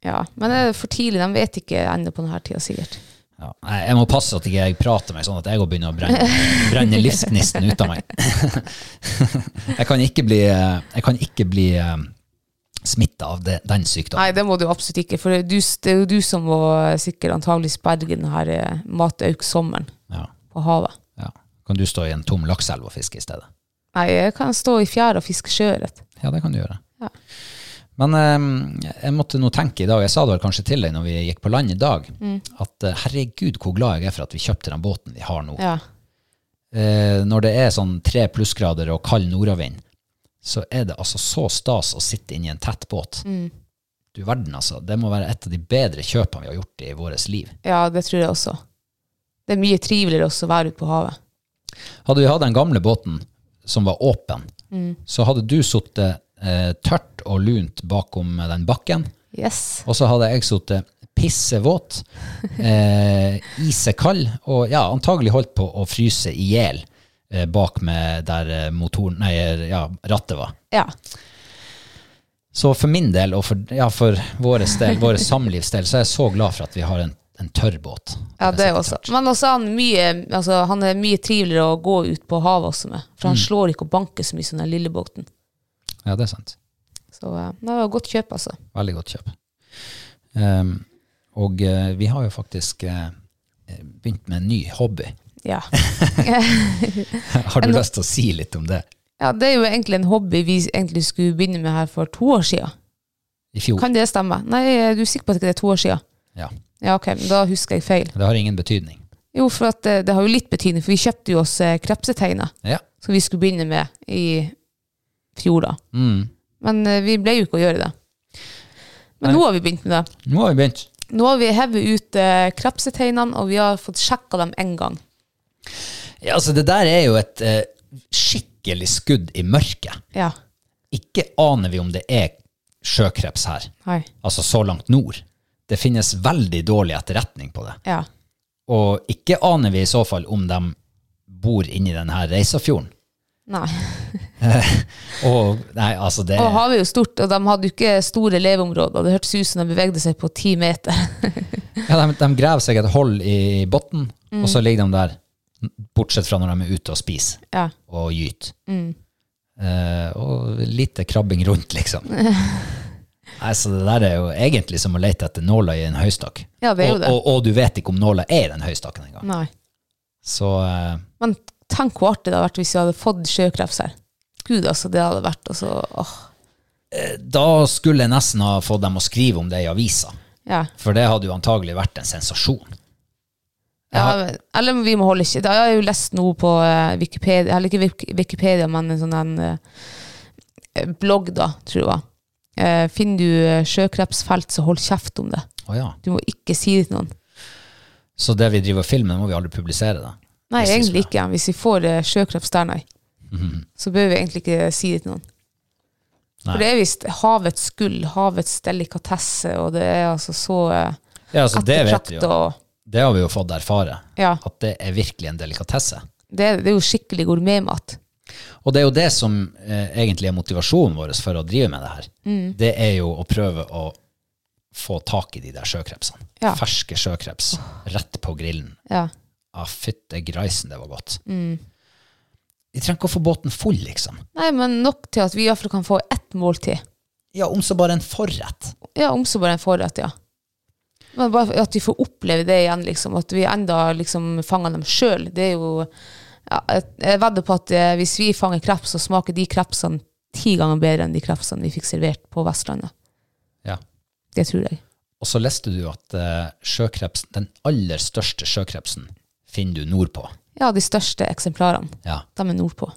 Speaker 2: ja. Men det er for tidlig. De vet ikke ennå på denne tida, sikkert.
Speaker 1: Ja. Nei, Jeg må passe at ikke jeg prater meg sånn at jeg går begynner å brenne, brenne livsgnisten ut av meg. jeg kan ikke bli, eh, jeg kan ikke bli smitta av det, den
Speaker 2: Nei,
Speaker 1: sykdommen.
Speaker 2: det må du absolutt ikke. For det er du, det er jo du som må eh, sikkert antageligvis berge denne matauk-sommeren
Speaker 1: Ja,
Speaker 2: på havet.
Speaker 1: ja. Kan du stå i en tom lakseelv og fiske i stedet?
Speaker 2: Nei, jeg kan stå i fjæra og fiske sjøørret.
Speaker 1: Ja, det kan du gjøre.
Speaker 2: Ja.
Speaker 1: Men eh, jeg måtte nå tenke i dag, jeg sa det vel kanskje til deg når vi gikk på land i dag, at eh, herregud hvor glad jeg er for at vi kjøpte den båten vi har nå.
Speaker 2: Ja.
Speaker 1: Eh, når det er sånn tre plussgrader og kald nordavind, så er det altså så stas å sitte inne i en tett båt. Du verden altså, det må være et av de bedre kjøpene vi har gjort i våres liv.
Speaker 2: ja, det tror jeg også. Det er mye triveligere også å være ute på havet.
Speaker 1: Hadde vi hatt den gamle båten som var åpen, så hadde du sittet eh, tørt og lunt bakom den bakken,
Speaker 2: Yes.
Speaker 1: Og så hadde jeg sittet pissevåt, eh, isekald, og ja, antagelig holdt på å fryse i hjel eh, bak med der eh, motoren, nei, ja, rattet var.
Speaker 2: Ja.
Speaker 1: Så for min del, og for, ja, for våres del, våre samlivs del, så er jeg så glad for at vi har en, en tørr båt.
Speaker 2: Ja, det også. Men også er han mye, altså, han er mye triveligere å gå ut på havet også med. For han slår ikke og banker så mye som den lille båten.
Speaker 1: Ja, det er sant.
Speaker 2: Så eh, nei, det var godt kjøp, altså.
Speaker 1: Veldig godt kjøp. Ehm, og eh, vi har jo faktisk eh, begynt med en ny hobby.
Speaker 2: Ja.
Speaker 1: Har du
Speaker 2: En-
Speaker 1: lyst til å si litt om det?
Speaker 2: ja, det er jo egentlig en hobby vi egentlig skulle begynne med her for to år siden.
Speaker 1: I fjor?
Speaker 2: Kan det stemme? Nei, er du sikker på at det ikke er to år siden?
Speaker 1: Ja.
Speaker 2: Ja, ok, men da husker jeg feil.
Speaker 1: Det har ingen betydning.
Speaker 2: Jo, for at eh, det har jo litt betydning, for vi kjøpte jo oss eh, krepseteiner,
Speaker 1: Ja.
Speaker 2: som vi skulle begynne med i fjor da.
Speaker 1: Mm.
Speaker 2: Men eh, vi ble jo ikke å gjøre det. Men
Speaker 1: Nei.
Speaker 2: nå har vi begynt med det.
Speaker 1: Nå har vi begynt.
Speaker 2: Nå har vi hevet ut eh, krepseteinene, og vi har fått sjekka dem en gang.
Speaker 1: Ja, altså Det der er jo et eh, skikkelig skudd i mørket.
Speaker 2: Ja.
Speaker 1: Ikke aner vi om det er sjøkreps her,
Speaker 2: Hei.
Speaker 1: altså så langt nord. Det finnes veldig dårlig etterretning på det.
Speaker 2: Ja.
Speaker 1: Og ikke aner vi i så fall om de bor inni denne Reisafjorden.
Speaker 2: Nei.
Speaker 1: Og nei, altså det
Speaker 2: Og havet er jo stort, og de hadde jo ikke store leveområder. Det hørtes ut som de bevegde seg på ti meter.
Speaker 1: ja, de, de graver seg et hold i bunnen,
Speaker 2: Mm.
Speaker 1: og så ligger de der, bortsett fra når de er ute og spiser
Speaker 2: Ja.
Speaker 1: og gyter.
Speaker 2: Mm.
Speaker 1: Eh, og lite krabbing rundt, liksom. Nei, så det der er jo egentlig som å lete etter nåla i en høystakk.
Speaker 2: Ja, det er jo
Speaker 1: og,
Speaker 2: det.
Speaker 1: Og, og du vet ikke om nåla er i den høystakken engang.
Speaker 2: Nei.
Speaker 1: Så eh,
Speaker 2: Men tenk hvor artig det hadde vært hvis vi hadde fått sjøkreps her. Gud, altså, det hadde vært altså, åh.
Speaker 1: Da skulle jeg nesten ha fått dem å skrive om det i avisa,
Speaker 2: Ja.
Speaker 1: for det hadde jo antagelig vært en sensasjon.
Speaker 2: Ja, men- eller vi må holde ikke Da har jeg jo lest noe på eh, Wikipedia, eller ikke Wik- Wikipedia, men en sånn en, eh, blogg, da, tror jeg. Uh, finner du eh, sjøkrepsfelt, så hold kjeft om det.
Speaker 1: Å ja.
Speaker 2: Du må ikke si det til noen.
Speaker 1: Så det vi driver og filmer, det må vi aldri publisere det.
Speaker 2: Nei,
Speaker 1: Hvis vi
Speaker 2: egentlig
Speaker 1: skal.
Speaker 2: ikke. Hvis vi får eh, sjøkreps der, nei, så bør vi egentlig ikke si det til noen.
Speaker 1: Mhm. Nei.
Speaker 2: For det er visst havets gull, havets delikatesse, og det er altså så eh,
Speaker 1: Ja, altså, det vet vi
Speaker 2: ettertraktet
Speaker 1: jo.
Speaker 2: og
Speaker 1: Det har vi jo fått erfare.
Speaker 2: Ja.
Speaker 1: At det er virkelig en delikatesse.
Speaker 2: Det, det er jo skikkelig gourmetmat.
Speaker 1: Og det er jo det som eh, egentlig er motivasjonen vår for å drive med det her. Det er jo å prøve å få tak i de der sjøkrepsene.
Speaker 2: Ja.
Speaker 1: Ferske sjøkreps rett på grillen.
Speaker 2: Ja.
Speaker 1: Ah, fytte greisen, det var godt. Vi trenger ikke å få båten full, liksom.
Speaker 2: Nei, men nok til at vi i hvert fall kan få ett måltid.
Speaker 1: Ja, om så bare en forrett.
Speaker 2: Ja, om så bare en forrett, ja. Men bare at vi får oppleve det igjen, liksom. At vi enda liksom fanger dem sjøl. Det er jo ja, jeg- Jeg vedder på at eh, hvis vi fanger kreps, så smaker de krepsene ti ganger bedre enn de krepsene vi fikk servert på Vestlandet.
Speaker 1: Ja.
Speaker 2: Det tror jeg.
Speaker 1: Og så leste du at eh, sjøkrepsen, den aller største sjøkrepsen, finner du nordpå.
Speaker 2: Ja, de største eksemplarene.
Speaker 1: Ja.
Speaker 2: De er nordpå.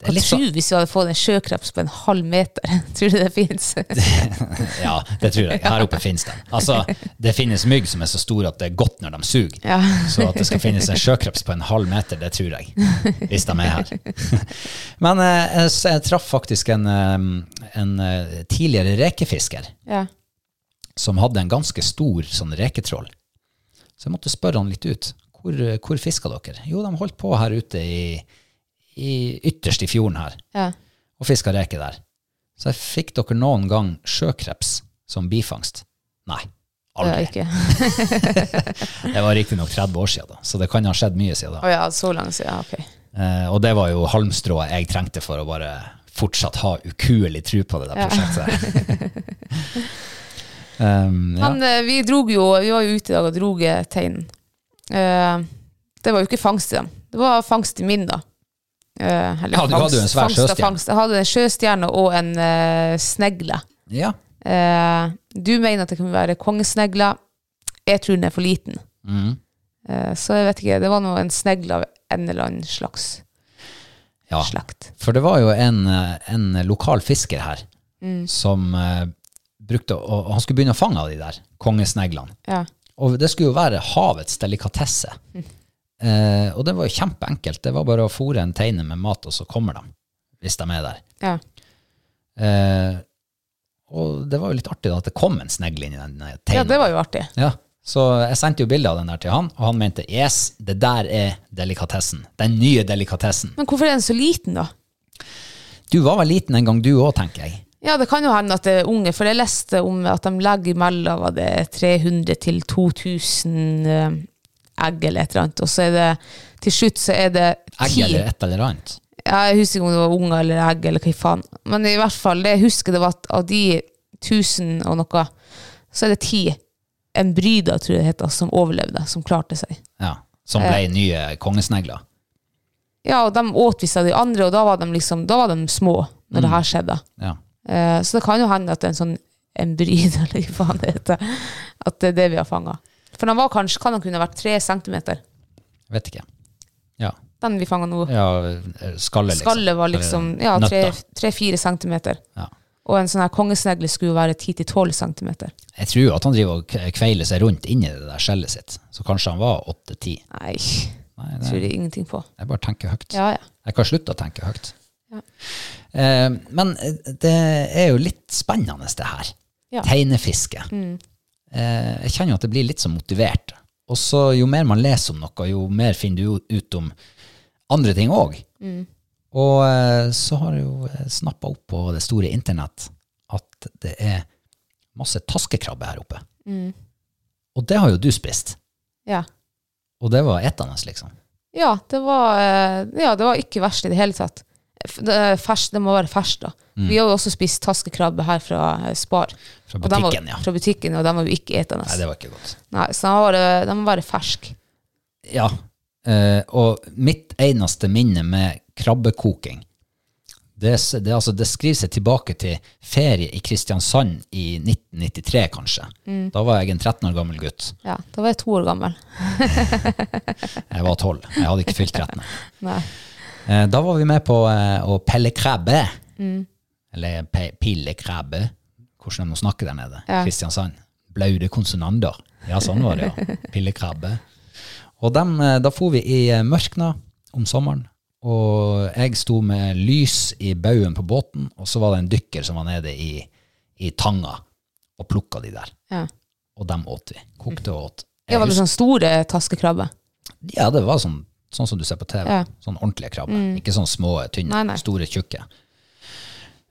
Speaker 1: Det
Speaker 2: Hva
Speaker 1: er litt sånn- så-
Speaker 2: tror du hvis vi hadde fått en sjøkreps på en halv meter? tror du det fins?
Speaker 1: Ja, det tror jeg. Her oppe finnes det. Altså, det finnes mygg som er så store at det er godt når de suger.
Speaker 2: Ja.
Speaker 1: Så at det skal finnes en sjøkreps på en halv meter, det tror jeg. Hvis de er her. Men eh, jeg, s- jeg traff faktisk en, eh, en eh, tidligere rekefisker
Speaker 2: ja.
Speaker 1: som hadde en ganske stor sånn reketrål. Så jeg måtte spørre han litt ut. Hvor, eh, hvor fiska dere? Jo, de holdt på her ute i, i ytterst i fjorden her
Speaker 2: ja.
Speaker 1: og fiska reke der. Så jeg fikk dere noen gang sjøkreps som bifangst? Nei,
Speaker 2: Det er
Speaker 1: aldri.
Speaker 2: ikke
Speaker 1: Det var riktignok 30 år siden, da, så det kan ha skjedd mye siden da.
Speaker 2: Å ja, så lenge siden. Ja, ok.
Speaker 1: Eh, og det var jo halmstrået jeg trengte for å bare fortsatt ha ukuelig tro på det der
Speaker 2: Ja.
Speaker 1: prosjektet. um, ja.
Speaker 2: Men eh, vi drog jo, vi var jo ute i dag og drog eh, teinen. Eh, det var jo ikke fangst i dem. Det var fangst i min, da. Eh, eller
Speaker 1: Ja, du hadde jo en svær
Speaker 2: fangst av
Speaker 1: sjøstjerne.
Speaker 2: fangst. Jeg hadde en sjøstjerne og en eh, snegle.
Speaker 1: ja.
Speaker 2: Eh, du mener at det kan være kongesnegle. Jeg tror den er for liten.
Speaker 1: Mm.
Speaker 2: Eh, så jeg vet ikke, det var nå en snegle av en eller annen slags
Speaker 1: ja.
Speaker 2: slakt.
Speaker 1: For det var jo en, eh, en lokal fisker her
Speaker 2: Mm.
Speaker 1: som eh, brukte å, og Han skulle begynne å fange av de der kongesneglene.
Speaker 2: Ja.
Speaker 1: Og det skulle jo være havets delikatesse.
Speaker 2: Mm.
Speaker 1: Eh, og det var jo kjempeenkelt. Det var bare å fôre en teine med mat, og så kommer de, hvis de er der.
Speaker 2: ja.
Speaker 1: Eh, og det var jo litt artig da at det kom en snegle inn i den eh, teinen.
Speaker 2: Ja, det var jo artig.
Speaker 1: Ja. Så jeg sendte jo bilde av den der til han, og han mente yes, det der er delikatessen. Den nye delikatessen.
Speaker 2: Men hvorfor er den så liten, da?
Speaker 1: Du var vel liten en gang du òg, tenker jeg.
Speaker 2: Ja, det kan jo hende at det er unge, for jeg leste om at de legger imellom var det 300 til 2000 eh, egg eller et eller annet, og så er det til slutt så er det
Speaker 1: Egg
Speaker 2: ti.
Speaker 1: eller et eller annet.
Speaker 2: Ja, jeg husker ikke om det var unger eller egg eller hva i faen, men i hvert fall det jeg husker det var at av de 1000 og noe, så er det ti embryder, tror jeg det heter, som overlevde, som klarte seg.
Speaker 1: Ja, som ble nye kongesnegler.
Speaker 2: Ja, og de åt visst av de andre, og da var de liksom, da var de små når
Speaker 1: Mm.
Speaker 2: det her skjedde.
Speaker 1: Ja.
Speaker 2: Eh, Så det kan jo hende at det er en sånn embryd, eller hva faen det heter, at det er det vi har fanga. For den var kanskje, kan den kunne vært tre centimeter,
Speaker 1: Vet ikke. Ja.
Speaker 2: den vi fanga nå.
Speaker 1: ja Skallet, liksom.
Speaker 2: Skallet var liksom ja,
Speaker 1: Nøtta.
Speaker 2: tre-fire centimeter.
Speaker 1: Ja.
Speaker 2: Og en sånn her kongesnegle skulle jo være ti til tolv centimeter.
Speaker 1: Jeg tror jo at han driver og k- kveiler seg rundt inni det der skjellet sitt. Så kanskje han var åtte-ti.
Speaker 2: Nei,
Speaker 1: Nei,
Speaker 2: det
Speaker 1: det-
Speaker 2: tror jeg ingenting på.
Speaker 1: Jeg bare tenker høyt.
Speaker 2: Ja, ja.
Speaker 1: Jeg kan slutte å tenke høyt.
Speaker 2: Ja.
Speaker 1: Eh, men eh, det er jo litt spennende, det her.
Speaker 2: Ja. Mm.
Speaker 1: Tegnefiske. Eh, jeg kjenner jo at det blir litt så motivert. Og så jo mer man leser om noe, jo mer finner du jo ut om andre ting òg.
Speaker 2: Mm.
Speaker 1: Og eh, så har jeg jo snappa opp på det store internett at det er masse taskekrabbe her oppe.
Speaker 2: Mm.
Speaker 1: Og det har jo du spist.
Speaker 2: Ja.
Speaker 1: Og det var etende, liksom.
Speaker 2: Ja, det var, eh, ja, det var ikke verst i det hele tatt. F- Det, er ferskt- det må være ferskt, da.
Speaker 1: Mm.
Speaker 2: Vi har jo også spist taskekrabbe her fra eh, Spar.
Speaker 1: Fra
Speaker 2: Og den var-
Speaker 1: butikken, ja.
Speaker 2: Fra butikken, og den var jo ikke etende.
Speaker 1: Nei, det var ikke godt.
Speaker 2: Nei, så den må være, den må være fersk.
Speaker 1: Ja. eh, og mitt eneste minne med krabbekoking, Det, s- det, altså, det skriver seg tilbake til ferie i Kristiansand i 1993, kanskje. Da var jeg en 13 år gammel gutt.
Speaker 2: Ja, da var jeg to år gammel.
Speaker 1: Jeg var 12. Jeg hadde ikke fylt 13.
Speaker 2: Nei.
Speaker 1: Eh, Da var vi med på eh, å pelle krabbe.
Speaker 2: Mm.
Speaker 1: Eller pe pille krabbe. Hvordan de nå snakker der nede.
Speaker 2: Ja.
Speaker 1: Kristiansand. Blaude konsonanter. Ja, sånn var det, ja. Pille krabbe. Og dem, eh, da for vi i eh, mørkna om sommeren. Og jeg sto med lys i baugen på båten, og så var det en dykker som var nede i, i tanga og plukka de der.
Speaker 2: Ja.
Speaker 1: Og dem åt vi. Kokte og åt.
Speaker 2: Jeg var det sånn store taskekrabber.
Speaker 1: Ja, det var sånn, sånn som du ser på TV.
Speaker 2: Ja. Mm.
Speaker 1: Sånn ordentlige krabber. Ikke sånn små, tynne,
Speaker 2: Nei, nei.
Speaker 1: store, tjukke.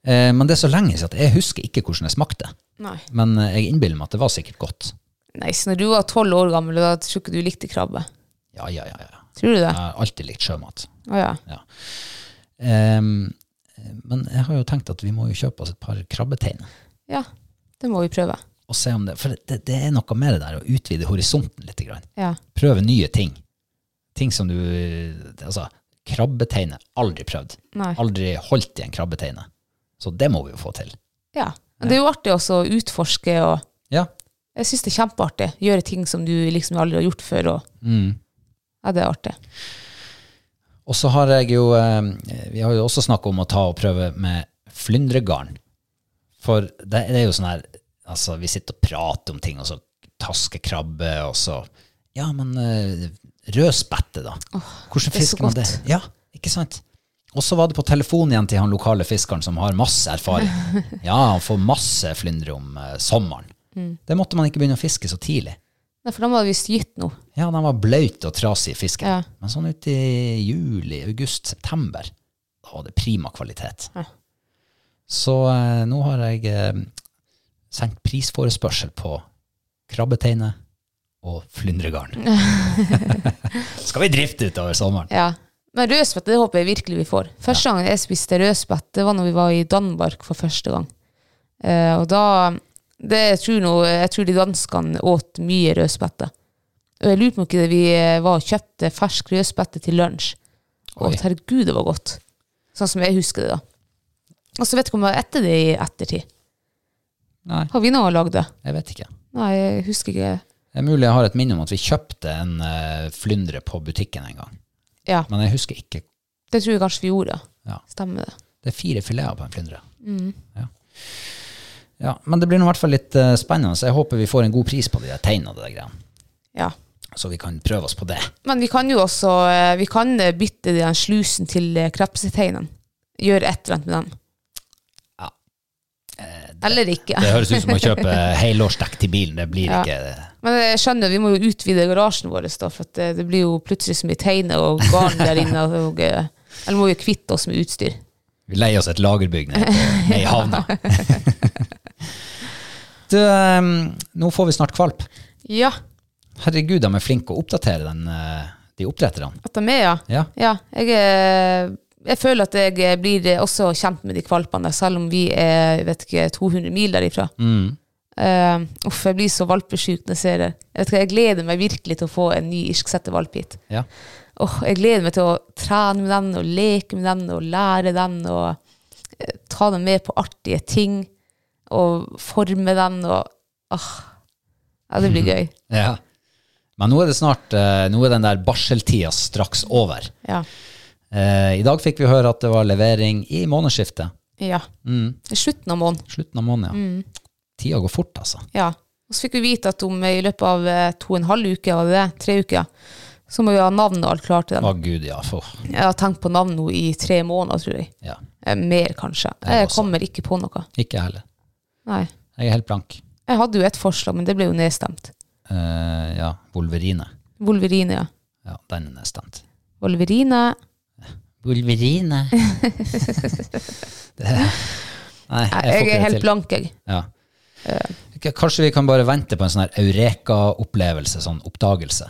Speaker 1: Eh, men det er så lenge siden at jeg husker ikke hvordan det smakte.
Speaker 2: Nei.
Speaker 1: Men eh, jeg innbiller meg at det var sikkert godt.
Speaker 2: Nei, så når du var tolv år gammel, da tror ikke du likte krabbe.
Speaker 1: Ja, ja, ja. ja.
Speaker 2: Tror du det?
Speaker 1: Jeg har alltid likt sjømat.
Speaker 2: Å ja.
Speaker 1: Ehm, men jeg har jo tenkt at vi må jo kjøpe oss et par krabbeteiner.
Speaker 2: Ja, det må vi prøve.
Speaker 1: Og se om det, for det, det er noe med det der å utvide horisonten litt. Grann.
Speaker 2: Ja.
Speaker 1: Prøve nye ting. Ting som du Altså, krabbeteine. Aldri prøvd.
Speaker 2: Nei.
Speaker 1: Aldri holdt i en krabbeteine. Så det må vi jo få til.
Speaker 2: Ja. Men det er jo artig også å utforske, og
Speaker 1: Ja.
Speaker 2: jeg syns det er kjempeartig. Gjøre ting som du liksom aldri har gjort før, og Ja, det er artig.
Speaker 1: Og så har jeg jo eh, Vi har jo også snakka om å ta og prøve med flyndregarn. For det, det er jo sånn her Altså, vi sitter og prater om ting, og så taskekrabbe, og så Ja, men eh, rødspette, da. Hvordan
Speaker 2: det er så
Speaker 1: fisker man det?
Speaker 2: godt.
Speaker 1: Ja, ikke sant? Og så var det på telefon igjen til han lokale fiskeren som har masse erfaring. Ja, han får masse flyndre om eh, sommeren.
Speaker 2: Mm.
Speaker 1: Det måtte man ikke begynne å fiske så tidlig.
Speaker 2: Nei, for da må vi styrt nå.
Speaker 1: Ja, den var bløt og trasig i fisken.
Speaker 2: Ja.
Speaker 1: Men sånn ute i juli, august, september, da var det prima kvalitet.
Speaker 2: Ja.
Speaker 1: Så eh, nå har jeg eh, sendt prisforespørsel på krabbeteine og flyndregarn. Skal vi drifte utover sommeren?
Speaker 2: Ja. Men rødspett, det håper jeg virkelig vi får. Første gangen jeg spiste rødspett, det var når vi var i Danmark for første gang. Eh, og da det, jeg, tror nå, jeg tror de danskene åt mye rødspette. Og jeg lurer på om ikke vi eh, var og kjøpte fersk rødspette til lunsj.
Speaker 1: Oi.
Speaker 2: Og herregud, det var godt. Sånn som jeg husker det, da. Og så vet jeg ikke om jeg har etter det i ettertid.
Speaker 1: Nei,
Speaker 2: Har vi nå lagd det?
Speaker 1: jeg vet ikke.
Speaker 2: Nei, jeg husker ikke.
Speaker 1: Det er mulig jeg har et minne om at vi kjøpte en eh, flyndre på butikken en gang.
Speaker 2: Ja,
Speaker 1: Men jeg husker ikke.
Speaker 2: det tror jeg kanskje vi gjorde.
Speaker 1: Ja.
Speaker 2: Stemmer det.
Speaker 1: Det er fire fileter på en flyndre. Ja. ja, men det blir nå i hvert fall litt eh, spennende. Så jeg håper vi får en god pris på de der tegnene og de der greiene.
Speaker 2: Ja.
Speaker 1: Så vi kan prøve oss på det.
Speaker 2: Men vi kan jo også eh, vi kan eh, bytte den slusen til eh, krepseteinen. Gjøre et eller annet med den. Eh,
Speaker 1: Ja.
Speaker 2: Eller ikke.
Speaker 1: Det høres ut som å kjøpe helårsdekk til bilen. Det blir
Speaker 2: Ja.
Speaker 1: ikke
Speaker 2: Men eh, jeg skjønner, vi må jo utvide garasjen vår, da, for at eh, det blir jo plutselig så mye teiner og garn der inne. Og, eh, eller må vi kvitte oss med utstyr.
Speaker 1: Vi leier oss et lagerbygg ned, på- ned i havna. du, eh, nå får vi snart kvalp.
Speaker 2: Ja.
Speaker 1: Herregud, de er flinke å oppdatere den, eh, de oppdretterne.
Speaker 2: At de er, ja.
Speaker 1: Ja.
Speaker 2: Ja, jeg, eh, jeg føler at jeg eh, blir eh, også kjent med de kvalpene, selv om vi er jeg vet ikke, 200 mil derifra.
Speaker 1: mm,
Speaker 2: Eh, uff, jeg blir så valpesjuk når jeg ser det. Jeg, vet ikke, jeg gleder meg virkelig til å få en ny irsksettevalp hit.
Speaker 1: Ja.
Speaker 2: Åh, jeg gleder meg til å trene med den, og leke med den, og lære den, og eh, ta den med på artige ting, og forme den, og åh, ja, det blir gøy.
Speaker 1: ja. Men nå er det snart, eh, nå er den der barseltida straks over.
Speaker 2: Ja.
Speaker 1: Eh, I dag fikk vi høre at det var levering i månedsskiftet.
Speaker 2: ja. Slutten av måneden.
Speaker 1: Slutten av måneden, ja. Tida går fort, altså.
Speaker 2: Ja. Og så fikk vi vite at om eh, i løpet av eh, to og en halv uke, var det det? Tre uker, så må vi ha navnet og alt klart til
Speaker 1: Å
Speaker 2: den.
Speaker 1: gud, ja. For,
Speaker 2: Jeg har tenkt på navn nå i tre måneder, tror jeg.
Speaker 1: ja.
Speaker 2: Eh, Mer, kanskje.
Speaker 1: Jeg
Speaker 2: Jeg
Speaker 1: også.
Speaker 2: kommer ikke på noe.
Speaker 1: Ikke jeg heller.
Speaker 2: Nei.
Speaker 1: Jeg er helt blank.
Speaker 2: Jeg hadde jo et forslag, men det ble jo nedstemt.
Speaker 1: Eh, ja, Wolverine.
Speaker 2: Wolverine, ja.
Speaker 1: Ja, den er nedstemt.
Speaker 2: Wolverine.
Speaker 1: Wolverine. det, nei, jeg,
Speaker 2: Nei,
Speaker 1: får ikke
Speaker 2: jeg er
Speaker 1: det
Speaker 2: helt
Speaker 1: til.
Speaker 2: blank, jeg.
Speaker 1: Ja. K- Kanskje vi kan bare vente på en sånn her eureka-opplevelse, sånn oppdagelse.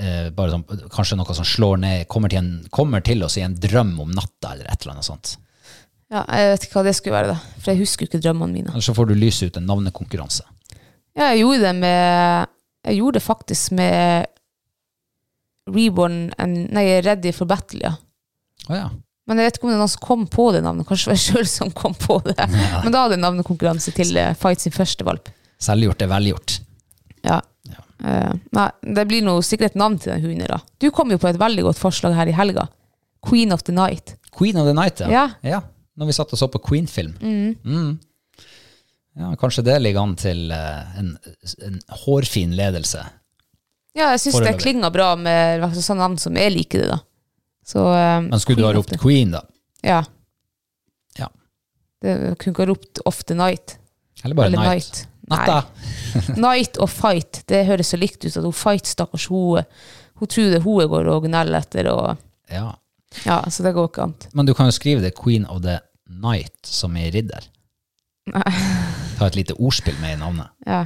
Speaker 1: Eh, bare sånn, kanskje noe som slår ned, kommer til, en, kommer til oss i en drøm om natta, eller et eller annet sånt.
Speaker 2: Ja, jeg vet ikke hva det skulle være, da. For jeg husker jo ikke drømmene mine.
Speaker 1: Eller så får du lyse ut en navnekonkurranse.
Speaker 2: Ja, jeg gjorde det med Jeg gjorde det faktisk med Reborn and Nei, Ready for Battle, ja.
Speaker 1: Å ja.
Speaker 2: Men jeg vet ikke om det er noen som kom på det navnet. Kanskje det var jeg sjøl som kom på det. Men da hadde jeg navnekonkurranse til eh, Fight sin første valp.
Speaker 1: Selvgjort er velgjort.
Speaker 2: Ja. Eh, nei, det blir nå sikkert et navn til den hunden, da. Du kom jo på et veldig godt forslag her i helga. Queen of the Night.
Speaker 1: Queen of the Night, ja.
Speaker 2: Ja.
Speaker 1: Når vi satt og så på Queen-film. Mm. Ja, kanskje det ligger an til eh, en, en hårfin ledelse.
Speaker 2: Ja, jeg syns det
Speaker 1: Foreløpig.
Speaker 2: klinger bra med altså, sånne navn som jeg liker det, da. Så eh,
Speaker 1: Men skulle du ha
Speaker 2: Queen of
Speaker 1: ropt
Speaker 2: the-
Speaker 1: Queen, da?
Speaker 2: Ja.
Speaker 1: Ja.
Speaker 2: Det jeg kunne ikke ha ropt Of the Night.
Speaker 1: Eller bare
Speaker 2: Eller
Speaker 1: Night?
Speaker 2: Night.
Speaker 1: Natta!
Speaker 2: Nei. Night og Fight, det høres så likt ut at hun Fight, stakkars, hun, hun tror det hun går og gneller etter, og
Speaker 1: Ja.
Speaker 2: ja, så det går ikke an.
Speaker 1: Men du kan jo skrive det Queen of the Night, som i ridder. Ta et lite ordspill med i navnet.
Speaker 2: Ja.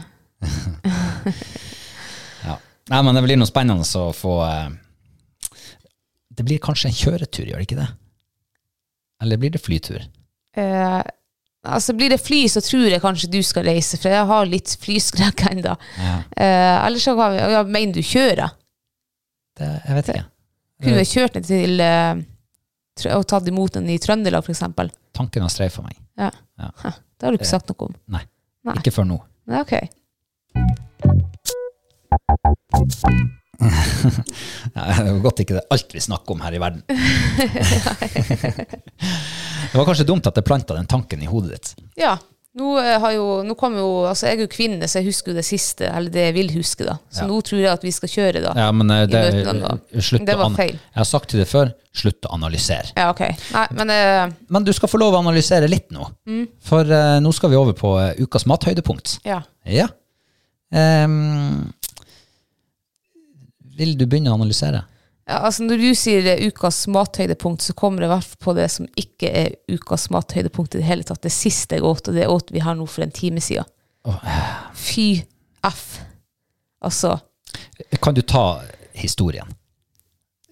Speaker 1: Ja. Nei, men det blir noe spennende å få eh, Det blir kanskje en kjøretur, gjør det ikke det? Eller blir det flytur?
Speaker 2: Eh, altså blir det fly, så tror jeg kanskje du skal reise, for jeg har litt flyskrekk ennå.
Speaker 1: Ja.
Speaker 2: Eh, ellers så har vi, ja, mener du kjører?
Speaker 1: Det, jeg vet ikke.
Speaker 2: Kunne vi kjørt ned til eh, Trø- og tatt imot den i Trøndelag, for eksempel?
Speaker 1: Tanken har streifa meg.
Speaker 2: Ja.
Speaker 1: Ja.
Speaker 2: Hæ, Det har du ikke sagt noe om.
Speaker 1: Nei.
Speaker 2: Nei.
Speaker 1: Ikke før nå.
Speaker 2: Nei, ok.
Speaker 1: Ja, det er jo godt ikke det er alt vi snakker om her i verden. det var kanskje dumt at jeg planta den tanken i hodet ditt.
Speaker 2: Ja. Nå, eh, har jo, nå kom jo, altså jeg er jo kvinne, så jeg husker jo det siste, eller det jeg vil huske, da. Så
Speaker 1: Ja.
Speaker 2: nå tror jeg at vi skal kjøre, da.
Speaker 1: Ja, men eh, det,
Speaker 2: I møtene da.
Speaker 1: slutt
Speaker 2: Det
Speaker 1: å
Speaker 2: var
Speaker 1: an-
Speaker 2: feil.
Speaker 1: Jeg har sagt til deg før, slutt å analysere.
Speaker 2: Ja, ok. Nei, men eh,
Speaker 1: Men du skal få lov å analysere litt nå. For eh, nå skal vi over på eh, ukas mathøydepunkt.
Speaker 2: ja.
Speaker 1: Ja. Ehm, vil du begynne å analysere?
Speaker 2: ja. Altså, når du sier eh, ukas mathøydepunkt, så kommer det i hvert fall på det som ikke er ukas mathøydepunkt i det hele tatt. Det siste jeg åt, og det åt vi her nå for en time siden. Fy f. Altså,
Speaker 1: Kan du ta historien?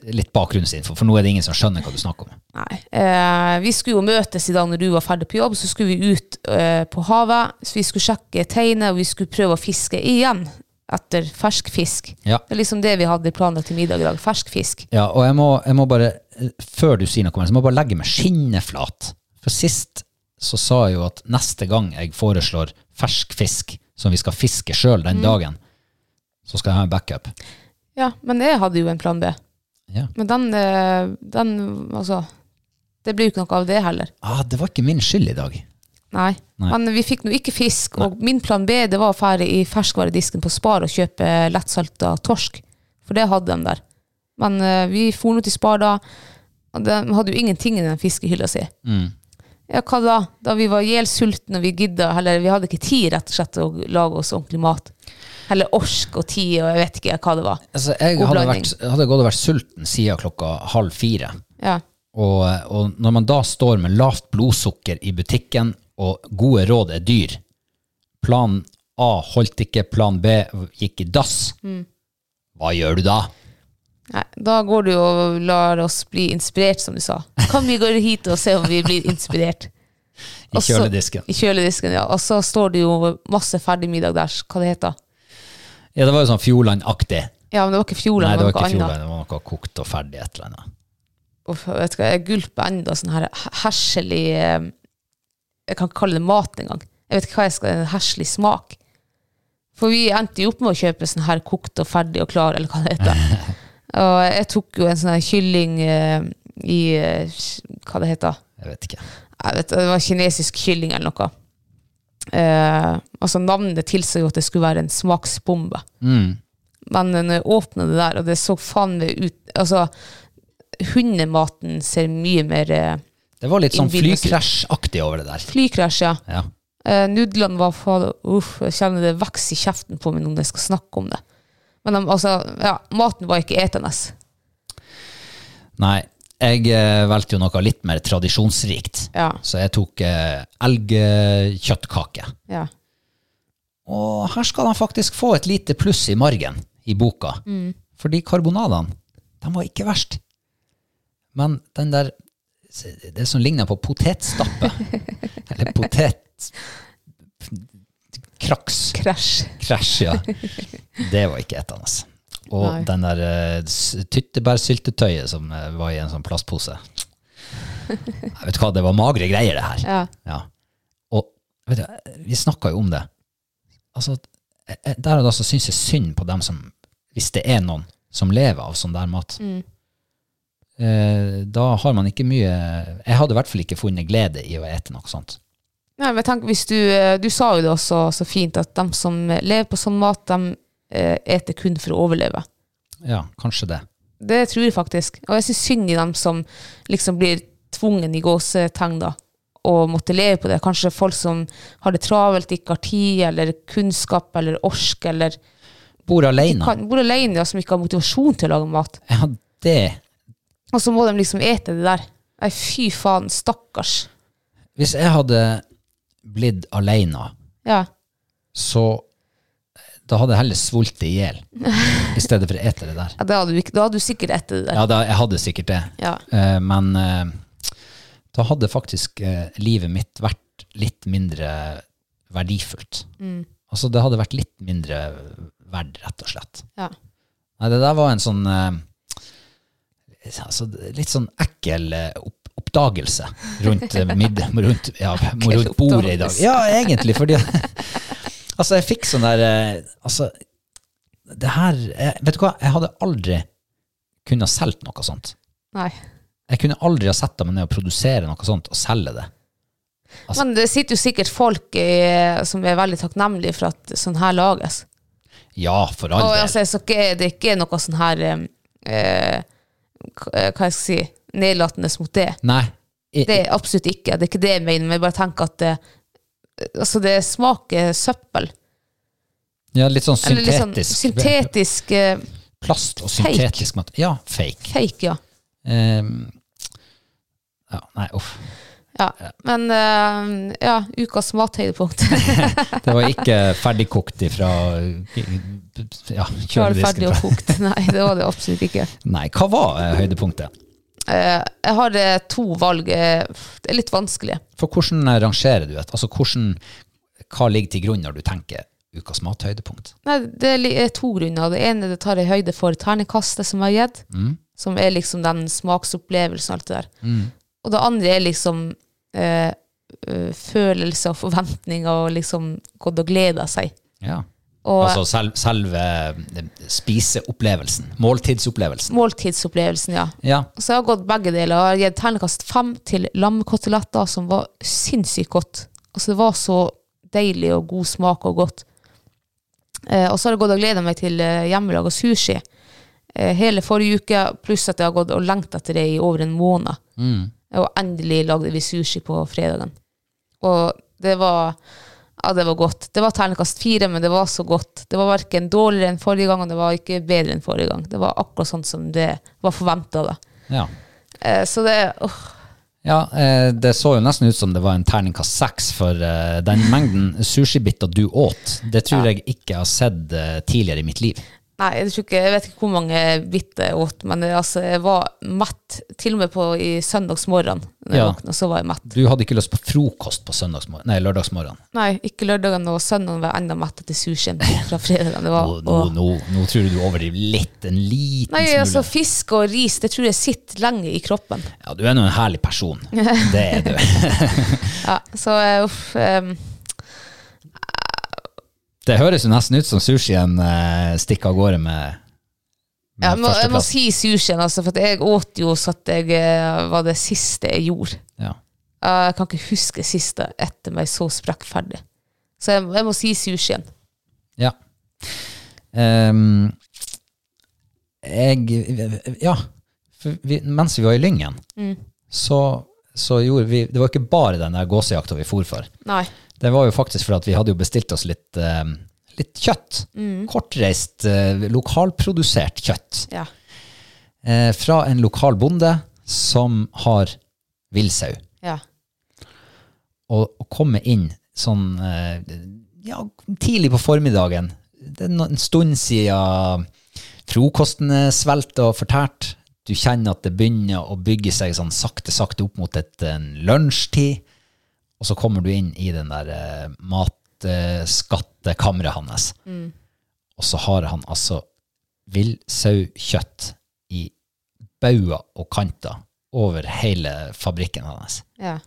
Speaker 1: Litt bakgrunnsinfo, for nå er det ingen som skjønner hva du snakker om.
Speaker 2: Nei. Eh, vi skulle jo møtes i dag når du var ferdig på jobb, så skulle vi ut eh, på havet. Så vi skulle sjekke teinet, og vi skulle prøve å fiske igjen etter fersk fisk.
Speaker 1: Ja.
Speaker 2: Det er liksom det vi hadde planlagt til middag i dag. Fersk fisk.
Speaker 1: Ja, og jeg må, jeg må bare, eh, før du sier noe mer, så må jeg bare legge meg skinneflat. For sist så sa jeg jo at neste gang jeg foreslår fersk fisk som vi skal fiske sjøl
Speaker 2: Mm.
Speaker 1: den dagen, så skal jeg ha en backup.
Speaker 2: Ja, men jeg hadde jo en plan B.
Speaker 1: Ja.
Speaker 2: Men den, eh, den Altså, det ble jo ikke noe av det heller.
Speaker 1: Ah, det var ikke min skyld i dag.
Speaker 2: Nei.
Speaker 1: Nei.
Speaker 2: Men vi fikk nå ikke fisk, og min plan B det var å fære i ferskvaredisken på Spar og kjøpe lettsalta torsk. For det hadde de der. Men eh, vi for nå til Spar da, og de hadde jo ingenting i den fiskehylla si.
Speaker 1: Mm.
Speaker 2: Ja, hva da? Da vi var gjelsultne og vi gidda, eller vi hadde ikke tid rett og slett til å lage oss ordentlig mat. Eller orsk og tid og jeg vet ikke hva det var.
Speaker 1: Altså, jeg
Speaker 2: God
Speaker 1: hadde,
Speaker 2: blanding.
Speaker 1: vært, hadde gått og vært sulten siden klokka halv fire.
Speaker 2: Ja.
Speaker 1: Og, og når man da står med lavt blodsukker i butikken, og gode råd er dyr Plan A holdt ikke, plan B gikk i dass. Hva gjør du da?
Speaker 2: Nei, da går du og lar oss bli inspirert, som du sa. Kan vi gå hit og se om vi blir inspirert?
Speaker 1: I
Speaker 2: Og så-
Speaker 1: kjøledisken.
Speaker 2: I kjøledisken, ja. Og så står det jo masse ferdig middag der, hva det heter.
Speaker 1: Ja, det var jo sånn Fjordland-aktig.
Speaker 2: Ja, men det var ikke Fjordland,
Speaker 1: Nei, det var
Speaker 2: noe
Speaker 1: ikke
Speaker 2: annet.
Speaker 1: Fjordland, det var noe kokt og ferdig et eller annet.
Speaker 2: Uff, jeg vet ikke, jeg gulper enda sånn her herselig, eh, jeg kan ikke kalle det mat engang. Jeg vet ikke hva jeg skal, en herselig smak. For vi endte jo opp med å kjøpe sånn her kokt og ferdig og klar, eller hva det heter. og jeg tok jo en sånn her kylling eh, i, eh, hva det heter,
Speaker 1: Jeg vet ikke.
Speaker 2: jeg vet, det var kinesisk kylling eller noe. Eh, altså Navnet tilsa jo at det skulle være en smaksbombe. Men når jeg åpna det der, og det så faen meg ut Altså, hundematen ser mye mer eh,
Speaker 1: Det var litt sånn
Speaker 2: Innbydende ut.
Speaker 1: flykrasjaktig over det der.
Speaker 2: Flykrasj, ja.
Speaker 1: Ja.
Speaker 2: Eh, nudlene var faen Uff, jeg kjenner det vokser i kjeften på meg når jeg skal snakke om det. Men de, altså, ja, maten var ikke etende.
Speaker 1: Nei, jeg eh, valgte jo noe litt mer tradisjonsrikt.
Speaker 2: Ja.
Speaker 1: Så jeg tok eh, elgkjøttkake.
Speaker 2: Ja.
Speaker 1: Og her skal han faktisk få et lite pluss i margen i boka. Fordi karbonadene, de var ikke verst. Men den der, det som ligner på potetstappe, eller potet... Kraks.
Speaker 2: Krasj.
Speaker 1: Krasj, ja. Det var ikke etende. Og
Speaker 2: Nei.
Speaker 1: den der eh, s- tyttebærsyltetøyet som eh, var i en sånn plastpose. Jeg vet du hva, det var magre greier, det her.
Speaker 2: Ja.
Speaker 1: Ja. Og vet du, vi snakka jo om det. Altså, jeg- jeg- der og da så syns jeg synd på dem som Hvis det er noen som lever av sånn der mat. Eh, da har man ikke mye Jeg hadde i hvert fall ikke funnet glede i å ete noe sånt.
Speaker 2: Nei, men jeg tenker, hvis du, eh, du sa jo det også så fint, at de som lever på sånn mat, de eh, eter kun for å overleve.
Speaker 1: Ja, kanskje det.
Speaker 2: Det tror jeg faktisk. Og jeg syns synd i dem som liksom blir tvungen i gåsetegn, da, og måtte leve på det. Kanskje folk som har det travelt, ikke har tid, eller kunnskap, eller ork, eller
Speaker 1: Bor aleine.
Speaker 2: kan, bor alene, ja, som ikke har motivasjon til å lage mat.
Speaker 1: Ja, det
Speaker 2: Og så må de liksom ete det der. Nei, fy faen, stakkars.
Speaker 1: Hvis jeg hadde blitt aleine,
Speaker 2: Ja.
Speaker 1: så da hadde jeg heller svultet i hjel i stedet for å ete det der.
Speaker 2: Ja, da hadde du, ikke, da hadde du sikkert etter det der.
Speaker 1: Ja, da, jeg hadde sikkert det.
Speaker 2: Ja.
Speaker 1: Eh, men eh, da hadde faktisk eh, livet mitt vært litt mindre verdifullt.
Speaker 2: Mm.
Speaker 1: Altså, det hadde vært litt mindre verd, rett og slett.
Speaker 2: Ja.
Speaker 1: Nei, det der var en sånn eh, altså, litt sånn ekkel eh, opp, oppdagelse rundt, eh, midd, rundt, ja, rundt bordet i dag.
Speaker 2: oppdagelse.
Speaker 1: Ja, egentlig, fordi Altså, jeg fikk sånn der eh, Altså, det her jeg, Vet du hva, jeg hadde aldri kunnet solgt noe sånt.
Speaker 2: Nei.
Speaker 1: Jeg kunne aldri ha sett meg ned og produsere noe sånt og selge det. Altså-
Speaker 2: Men det sitter jo sikkert folk i, som er veldig takknemlige for at sånn her lages.
Speaker 1: Ja, for all
Speaker 2: Og
Speaker 1: del.
Speaker 2: altså, jeg skal ikke, det er ikke noe sånn her eh, eh, hva eh, hva jeg skal si, nedlatende mot det.
Speaker 1: Nei. I,
Speaker 2: Det er absolutt ikke. Det er ikke det jeg mener, men jeg bare tenker at det, altså det smaker søppel.
Speaker 1: ja, litt sånn
Speaker 2: Eller litt sånn
Speaker 1: syntetisk.
Speaker 2: syntetisk eh,
Speaker 1: Plast og
Speaker 2: Fake.
Speaker 1: syntetisk mat. Ja, fake.
Speaker 2: fake, ja.
Speaker 1: Ehm, ja, nei, uff.
Speaker 2: ja. Men eh, ja, ukas mathøydepunkt.
Speaker 1: Det var ikke ferdigkokt ifra ja,
Speaker 2: Klar, ferdig
Speaker 1: kjøledisken.
Speaker 2: og kokt. Nei, det var det absolutt ikke.
Speaker 1: Nei, hva var eh, høydepunktet?
Speaker 2: Eh, jeg har eh, to valg. eh, Det er litt vanskelig.
Speaker 1: For hvordan eh, rangerer du et? Altså, hvordan, hva ligger til grunn når du tenker ukas mathøydepunkt?
Speaker 2: Nei, det li- er to grunner. Det ene det tar jeg høyde for ternekastet som jeg har gitt, som er liksom den smaksopplevelsen og alt det der. Og det andre er liksom eh, eh, følelser og forventninger og liksom gått og gleda seg.
Speaker 1: Ja.
Speaker 2: Og
Speaker 1: altså sel, selve eh, spiseopplevelsen. Måltidsopplevelsen.
Speaker 2: måltidsopplevelsen, ja.
Speaker 1: Ja.
Speaker 2: Så jeg har gått begge deler. Jeg har gitt ternekast fem til lammekoteletter, som var sinnssykt godt. Altså, det var så deilig og god smak og godt. Eh, og så har jeg gått og gleda meg til eh, hjemmelaga sushi eh, hele forrige uke, pluss at jeg har gått og lengta etter det i over en måned. Og endelig lagde vi sushi på fredagen. Og det var ja, det var godt. Det var terningkast fire, men det var så godt. Det var verken dårligere enn forrige gang, og det var ikke bedre enn forrige gang. Det var akkurat sånn som det var forventa.
Speaker 1: ja.
Speaker 2: Eh, så det åh,
Speaker 1: Ja, eh, det så jo nesten ut som det var en terningkast seks for eh, den mengden sushibiter du åt. Det tror jeg ikke jeg har sett eh, tidligere i mitt liv.
Speaker 2: Nei, jeg, tror ikke, jeg vet ikke hvor mange bitt jeg åt, men jeg, altså, jeg var mett. Til og med på i søndagsmorgen når jeg
Speaker 1: Ja.
Speaker 2: våkna, så var jeg mett.
Speaker 1: Du hadde ikke lyst på frokost på søndagsmorgen, nei, lørdagsmorgen.
Speaker 2: Nei, ikke lørdagen og søndagen var jeg enda mett etter sushien fra fredagen. Det
Speaker 1: Nå,
Speaker 2: var,
Speaker 1: nå,
Speaker 2: åh.
Speaker 1: nå, nå tror jeg du overdriver litt, en liten
Speaker 2: Nei,
Speaker 1: smule.
Speaker 2: altså Fisk og ris det tror jeg sitter lenge i kroppen.
Speaker 1: Ja, du er nå en herlig person. Det er du.
Speaker 2: Ja, så eh, uff. em,
Speaker 1: Det høres jo nesten ut som sushien eh, stikker av gårde med, med
Speaker 2: Ja, jeg, må, jeg må
Speaker 1: førsteplass.
Speaker 2: si sushien, altså, for at jeg åt jo så at jeg eh, var det siste jeg gjorde.
Speaker 1: Ja.
Speaker 2: Eh, Jeg kan ikke huske siste etter meg så sprekkferdig. Så jeg, jeg må si sushien.
Speaker 1: Ja. Ehm, jeg Ja. For vi, mens vi var i Lyngen, så, så gjorde vi Det var ikke bare den der gåsejakta vi for for.
Speaker 2: Nei.
Speaker 1: Det var jo faktisk for at vi hadde jo bestilt oss litt, ehm, litt kjøtt. Kortreist, eh, lokalprodusert kjøtt.
Speaker 2: Ja.
Speaker 1: Eh, fra en lokal bonde som har villsau.
Speaker 2: ja.
Speaker 1: Og, og komme inn sånn eh, ja, tidlig på formiddagen. Det er no- en stund siden frokosten er svelt og fortært. Du kjenner at det begynner å bygge seg sånn sakte, sakte opp mot et, en lunsjtid. Og så kommer du inn i den der eh, matskattekammeret hans. Og så har han altså villsaukjøtt i bauger og kanter over hele fabrikken hans.
Speaker 2: Ja.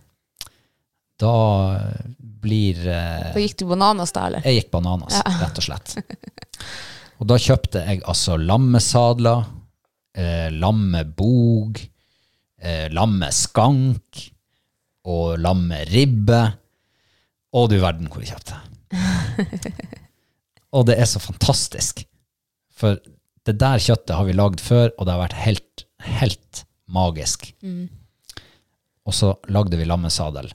Speaker 1: Da blir eh,
Speaker 2: Da gikk du bananas da, eller?
Speaker 1: Jeg gikk bananas, rett og slett. Og da kjøpte jeg altså lammesadler, eh, lammebog, eh, lammeskank og lammeribbe. Og du verden hvor jeg kjøpte. og det er så fantastisk. For det der kjøttet har vi lagd før, og det har vært helt, helt magisk. Og så lagde vi lammesadel,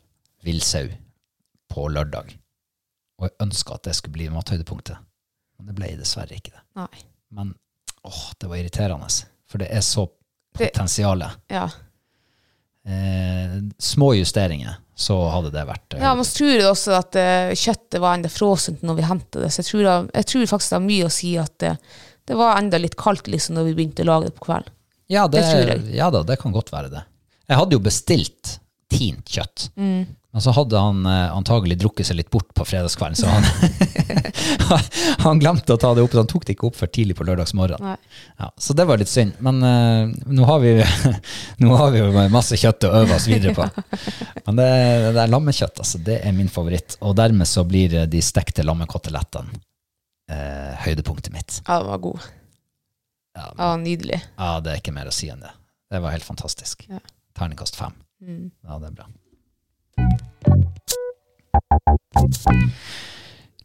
Speaker 1: villsau, på lørdag. Og jeg ønska at det skulle bli mathøydepunktet. Men det ble dessverre ikke det.
Speaker 2: Nei.
Speaker 1: Men åh, det var irriterende. For det er så potensialet.
Speaker 2: Ja.
Speaker 1: Eh, små justeringer, så hadde det vært eh,
Speaker 2: Ja, men så tror jeg også at eh, kjøttet var enda frosent når vi hentet det, så jeg tror, da- jeg tror faktisk det har mye å si at eh, det var enda litt kaldt liksom når vi begynte å lage det på kvelden.
Speaker 1: ja, det,
Speaker 2: det tror jeg.
Speaker 1: ja da, det kan godt være det. Jeg hadde jo bestilt tint kjøtt.
Speaker 2: Mm,
Speaker 1: Men så hadde han eh, antagelig drukket seg litt bort på fredagskvelden, så han, han glemte å ta det opp. Så han tok det ikke opp før tidlig på lørdagsmorgenen.
Speaker 2: Nei.
Speaker 1: Ja, så det var litt synd, men eh, nå, har vi, nå har vi jo masse kjøtt å øve oss videre på. Men det, det der lammekjøtt, altså, det er min favoritt. Og dermed så blir eh, de stekte lammekotelettene eh, høydepunktet mitt.
Speaker 2: Ja, det var god.
Speaker 1: Ja, men,
Speaker 2: Ja, nydelig.
Speaker 1: ja, det er ikke mer å si enn det. Det var helt fantastisk.
Speaker 2: Ja.
Speaker 1: Terningkast fem. Ja, det er bra.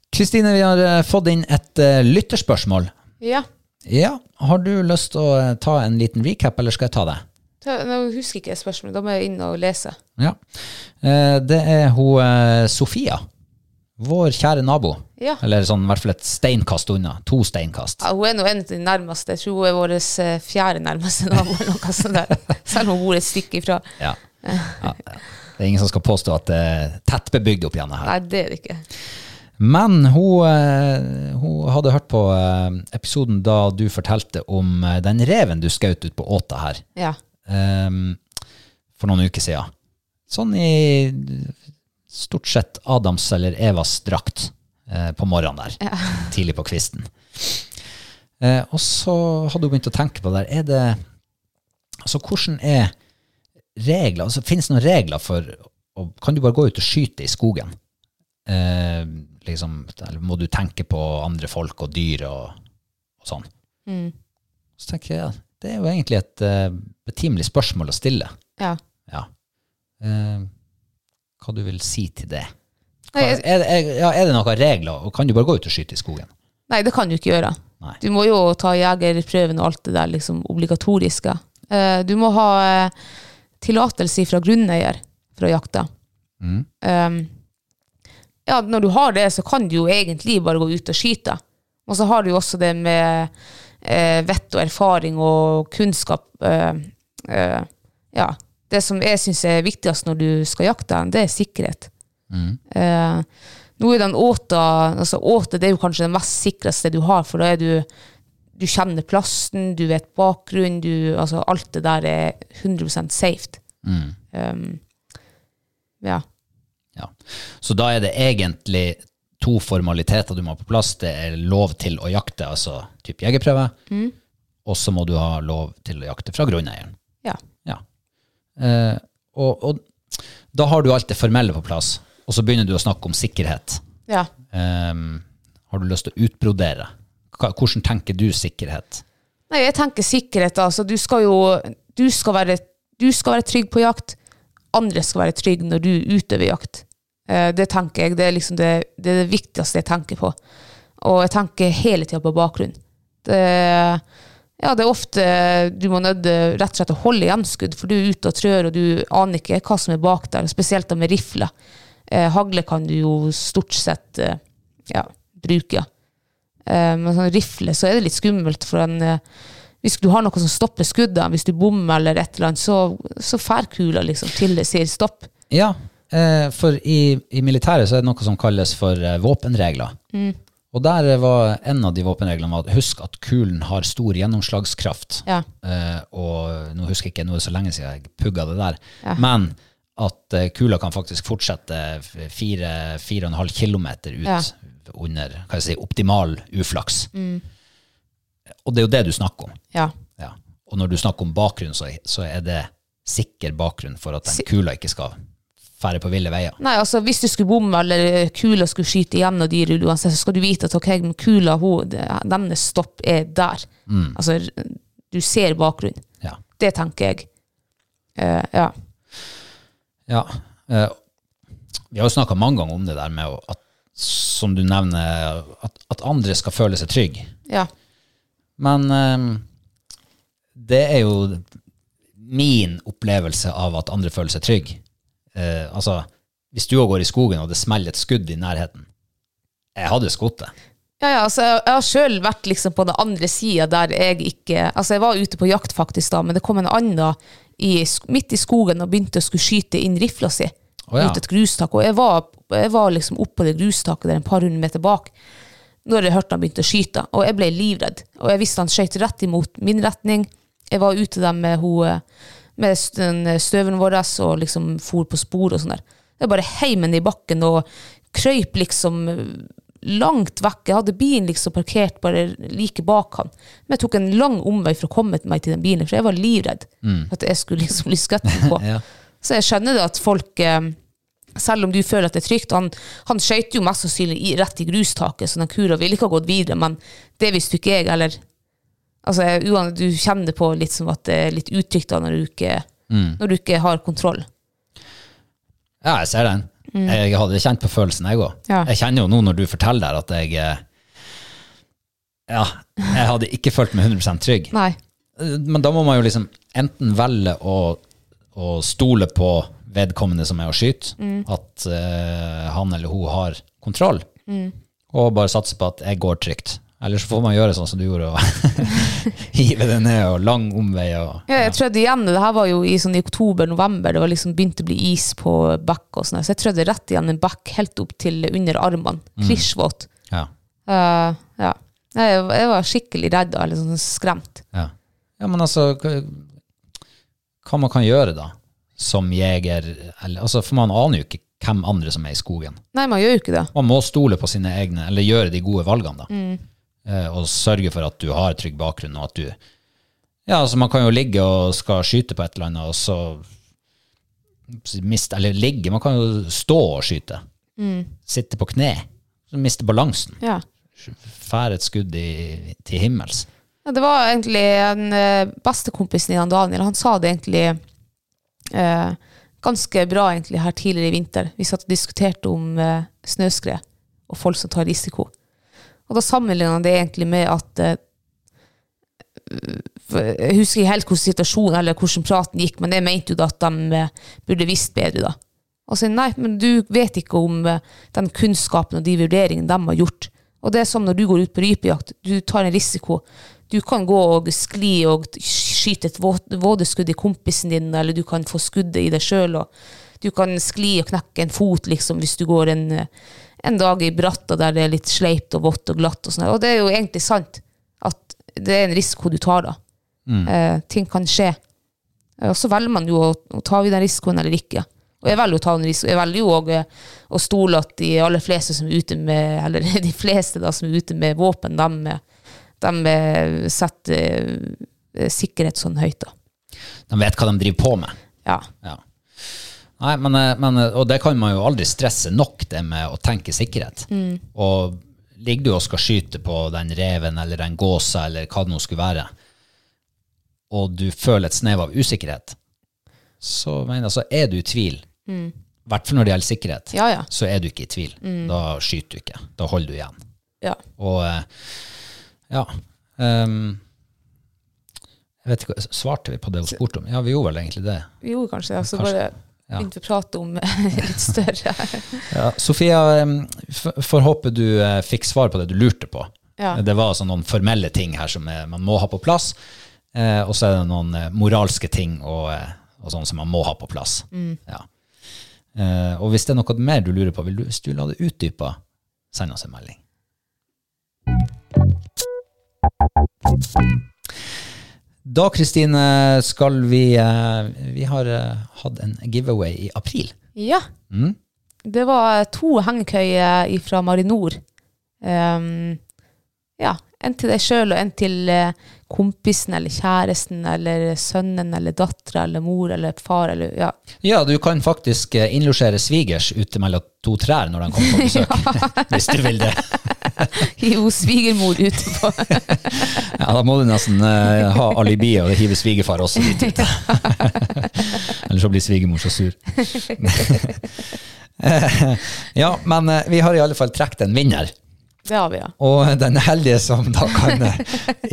Speaker 1: Kristine, vi har eh, fått inn et eh, lytterspørsmål.
Speaker 2: Ja,
Speaker 1: Ja, har du lyst til å eh, ta en liten recap, eller skal jeg ta det?
Speaker 2: Ta- nå husker jeg ikke spørsmålet, da må jeg inn og lese.
Speaker 1: Ja. Eh, Det er hun eh, Sofia. Vår kjære nabo.
Speaker 2: Ja.
Speaker 1: Eller sånn, i hvert fall et steinkast unna. To steinkast.
Speaker 2: Ja, hun er nå en av de nærmeste, jeg tror hun er vår eh, fjerde nærmeste nabo, eller noe sånt der. selv om hun bor et stykke ifra.
Speaker 1: Ja. Ja. Det er ingen som skal påstå at det er tett bebygd opp igjen her.
Speaker 2: Nei, det er det ikke.
Speaker 1: Men hun, eh, hun hadde hørt på eh, episoden da du fortalte om eh, den reven du skjøt ut på åta her
Speaker 2: Ja,
Speaker 1: eh, for noen uker siden. Sånn i stort sett Adams eller Evas drakt eh, på morgenen der, tidlig på kvisten. Eh, og så hadde hun begynt å tenke på det der. Er det, altså, hvordan er regler? Altså, Finnes det noen regler for og, Kan du bare gå ut og skyte i skogen? Eh, liksom, eller må du tenke på andre folk og dyr og, og sånn? Så tenker jeg, det er jo egentlig et eh, betimelig spørsmål å stille.
Speaker 2: ja.
Speaker 1: Ja. Eh, hva du vil si til det? Hva,
Speaker 2: Nei,
Speaker 1: er,
Speaker 2: jeg,
Speaker 1: er, ja, er det noen regler, og kan du bare gå ut og skyte i skogen?
Speaker 2: nei, det kan du ikke gjøre.
Speaker 1: Nei.
Speaker 2: Du må jo ta jegerprøven og alt det der liksom obligatoriske. Eh, Du må ha eh, tillatelse fra grunneier for å jakte. Um, ja, når du har det, så kan du jo egentlig bare gå ut og skyte. Og så har du jo også det med eh, vett og erfaring og kunnskap. Eh, eh, ja. Det som jeg syns er viktigst når du skal jakte, det er sikkerhet. Eh, nå er den åta altså Åte det er jo kanskje det mest sikreste du har, for da er du du kjenner plassen, du vet bakgrunnen, du, altså alt det der er 100 safe. Um, ja.
Speaker 1: Ja. Så da er det egentlig to formaliteter du må ha på plass. Det er lov til å jakte, altså typ jegerprøve,
Speaker 2: Mm.
Speaker 1: og så må du ha lov til å jakte fra grunneieren.
Speaker 2: ja.
Speaker 1: Ja. Eh, og, og da har du alt det formelle på plass, og så begynner du å snakke om sikkerhet.
Speaker 2: Ja.
Speaker 1: Ehm, har du lyst til å utbrodere? Hva, hvordan tenker du sikkerhet?
Speaker 2: Nei, jeg tenker sikkerhet. Altså, du skal jo du skal, være, du skal være trygg på jakt. Andre skal være trygg når du utøver jakt. Eh, det tenker jeg. Det er liksom det, det, er det viktigste jeg tenker på. Og jeg tenker hele tida på bakgrunn. Det, ja, det er ofte du må nødde rett og slett å holde igjen skudd, for du er ute og trør, og du aner ikke hva som er bak der. Spesielt da med rifle. Eh, hagle kan du jo stort sett eh, ja, bruke. Ja. Eh, Med sånn rifle så er det litt skummelt, for en, eh, hvis du har noe som stopper skuddet, hvis du bommer eller et eller annet, så, så fær kula liksom til det sier stopp.
Speaker 1: Ja, eh, for i, i militæret så er det noe som kalles for eh, våpenregler. Og der var en av de våpenreglene var at husk at kulen har stor gjennomslagskraft.
Speaker 2: Ja.
Speaker 1: Eh, og nå husker jeg ikke, nå er det så lenge siden jeg pugga det der. Men at eh, kula kan faktisk fortsette f- fire, fire og en halv kilometer ut
Speaker 2: Ja.
Speaker 1: under hva jeg si, optimal uflaks. Og det er jo det du snakker om.
Speaker 2: Ja.
Speaker 1: Ja. Og når du snakker om bakgrunn, så, så er det sikker bakgrunn for at
Speaker 2: Si-
Speaker 1: den kula ikke skal fære på ville veier.
Speaker 2: Nei, altså Hvis du skulle bomme eller kula skulle skyte igjen, og de ruller uansett, så skal du vite at ok, men kula, hun, deres stopp er der.
Speaker 1: Mm.
Speaker 2: Altså, du ser bakgrunnen.
Speaker 1: Ja.
Speaker 2: Det tenker jeg. Eh, ja.
Speaker 1: Ja. eh, Vi har jo snakka mange ganger om det der med å- at, som du nevner, at, at andre skal føle seg trygge.
Speaker 2: ja.
Speaker 1: Men eh, det er jo min opplevelse av at andre føler seg trygge. Eh, altså, hvis du òg går i skogen og det smeller et skudd i nærheten Jeg hadde skutt det.
Speaker 2: Ja, ja, altså, jeg jeg har sjøl vært liksom på den andre sida der jeg ikke Altså, jeg var ute på jakt faktisk da, men det kom en annen i, sk- midt i skogen og begynte å skulle skyte inn rifla si
Speaker 1: Å, ja.
Speaker 2: mot et grustak. Og jeg var, jeg var liksom oppå det grustaket der en par hundre meter bak når jeg hørte han begynte å skyte. Og jeg ble livredd. Og jeg visste han skjøt rett imot min retning. Jeg var ute der med, ho, med st- den støven vår og liksom for på spor og sånn der. Jeg bare heiv meg ned i bakken og krøyp liksom langt vekk. Jeg hadde bilen liksom parkert bare like bak han. Men jeg tok en lang omvei for å komme meg til den bilen, for jeg var livredd at jeg skulle liksom bli skutt på.
Speaker 1: Ja.
Speaker 2: Så jeg skjønner det at folk eh, selv om du føler at det er trygt Han, han skøyt jo mest sannsynlig i, rett i grustaket, så den kura ville ikke ha gått videre, men det visste jo ikke jeg, eller Altså, jeg- uan- du kjenner det på litt som at det er litt utrygt da når du ikke, når du ikke har kontroll.
Speaker 1: Ja, jeg ser den. Jeg hadde kjent på følelsen, jeg òg.
Speaker 2: Ja.
Speaker 1: Jeg kjenner jo nå når du forteller der, at jeg eh, Ja, jeg hadde ikke følt meg 100 trygg.
Speaker 2: Nei.
Speaker 1: Eh, Men da må man jo liksom enten velge å, å stole på vedkommende som er å skyte, at eh, han eller hun har kontroll, og bare satse på at jeg går trygt. Eller så får man gjøre sånn som du gjorde, og hive det ned og lang omvei og
Speaker 2: Ja, jeg trødde igjen, det her var jo i, sånn, i oktober-november, det var liksom begynt å bli is på bekk og sånn, så jeg trødde rett igjen en bekk helt opp til under armene, klisjvåt.
Speaker 1: Ja.
Speaker 2: Eh, ja. Nei, Jeg, jeg var skikkelig redd da, eller sånn skremt.
Speaker 1: Ja. ja, men altså hva, hva man kan gjøre da, som jeger eller, altså, For man aner jo ikke hvem andre som er i skogen.
Speaker 2: Nei, man gjør jo ikke det.
Speaker 1: Man må stole på sine egne, eller gjøre de gode valgene, da. Eh, og sørge for at du har trygg bakgrunn, og at du Ja, altså, man kan jo ligge og skal skyte på et eller annet, og så mist, Eller ligge, man kan jo stå og skyte. Sitte på kne. Så miste balansen.
Speaker 2: Ja.
Speaker 1: Fære et skudd i, til himmels.
Speaker 2: Ja, det var egentlig en eh, bestekompisen din, han Daniel. Han sa det egentlig eh, ganske bra egentlig her tidligere i vinter. Vi satt og diskuterte om eh, snøskred og folk som tar risiko. Og da sammenlignet han det egentlig med at eh, for- Jeg husker ikke helt hvordan situasjonen eller hvordan praten gikk, men jeg mente jo da at de eh, burde visst bedre. da. Og så nei, men du vet ikke om eh, den kunnskapen og de vurderingene de har gjort. Og det er som når du går ut på rypejakt, du tar en risiko. Du kan gå og skli og t- skyte et vå- vådeskudd i kompisen din, eller du kan få skuddet i deg sjøl. Du kan skli og knekke en fot liksom, hvis du går en, eh, en dag i bratta der det er litt sleipt og vått og glatt. Og, sånn. og det er jo egentlig sant at det er en risiko du tar da. Eh, ting kan skje. Eh, Og så velger man jo å, å ta den risikoen eller ikke. Og jeg velger jo å ta den risikoen. Jeg velger jo òg å stole at de aller fleste som er ute med eller de fleste da som er ute med våpen, de, de setter eh, sikkerhet sånn høyt, da.
Speaker 1: De vet hva de driver på med.
Speaker 2: Ja.
Speaker 1: Ja. Nei, men, eh, men, eh, og det kan man jo aldri stresse nok, det med å tenke sikkerhet. Og ligger du og skal skyte på den reven eller den gåsa eller hva det nå skulle være, og du føler et snev av usikkerhet, så, mener, jeg, så er du i tvil. I hvert fall når det gjelder sikkerhet,
Speaker 2: Ja, ja.
Speaker 1: så er du ikke i tvil. Da skyter du ikke. Da holder du igjen.
Speaker 2: ja.
Speaker 1: Og eh, ja ehm, Jeg vet ikke, Svarte vi på det hun spurte om? Ja, vi gjorde vel egentlig det.
Speaker 2: Vi gjorde kanskje det. Så
Speaker 1: Kanskje.
Speaker 2: bare
Speaker 1: Ja.
Speaker 2: begynte vi å prate om litt større.
Speaker 1: Ja, Sofia, em, f- får håpe du eh, fikk svar på det du lurte på.
Speaker 2: Ja.
Speaker 1: Det var altså noen formelle ting her som eh, man må ha på plass, eh, og så er det noen eh, moralske ting og, eh, og sånn som man må ha på plass. Ja. Eh, Og hvis det er noe mer du lurer på, vil du, hvis du la det utdype, send oss en melding. Da, Kristine, skal vi eh, Vi har eh, hatt en giveaway i april.
Speaker 2: Ja.
Speaker 1: Mm.
Speaker 2: Det var to hengekøyer fra Marinor. Ehm, ja, En til deg sjøl, og en til eh, kompisen eller kjæresten eller sønnen eller dattera eller mor eller far eller ja.
Speaker 1: Ja, du kan faktisk eh, innlosjere svigers ute mellom to trær når de kommer på besøk. Hvis du vil det.
Speaker 2: Jo, svigermor ute på
Speaker 1: Ja, da må du nesten eh, ha alibi og hive svigerfar også litt ut. Eller så blir svigermor så sur. Eh, ja, men eh, vi har i alle fall trukket en vinner.
Speaker 2: Det har vi, ja.
Speaker 1: Og den heldige som da kan eh,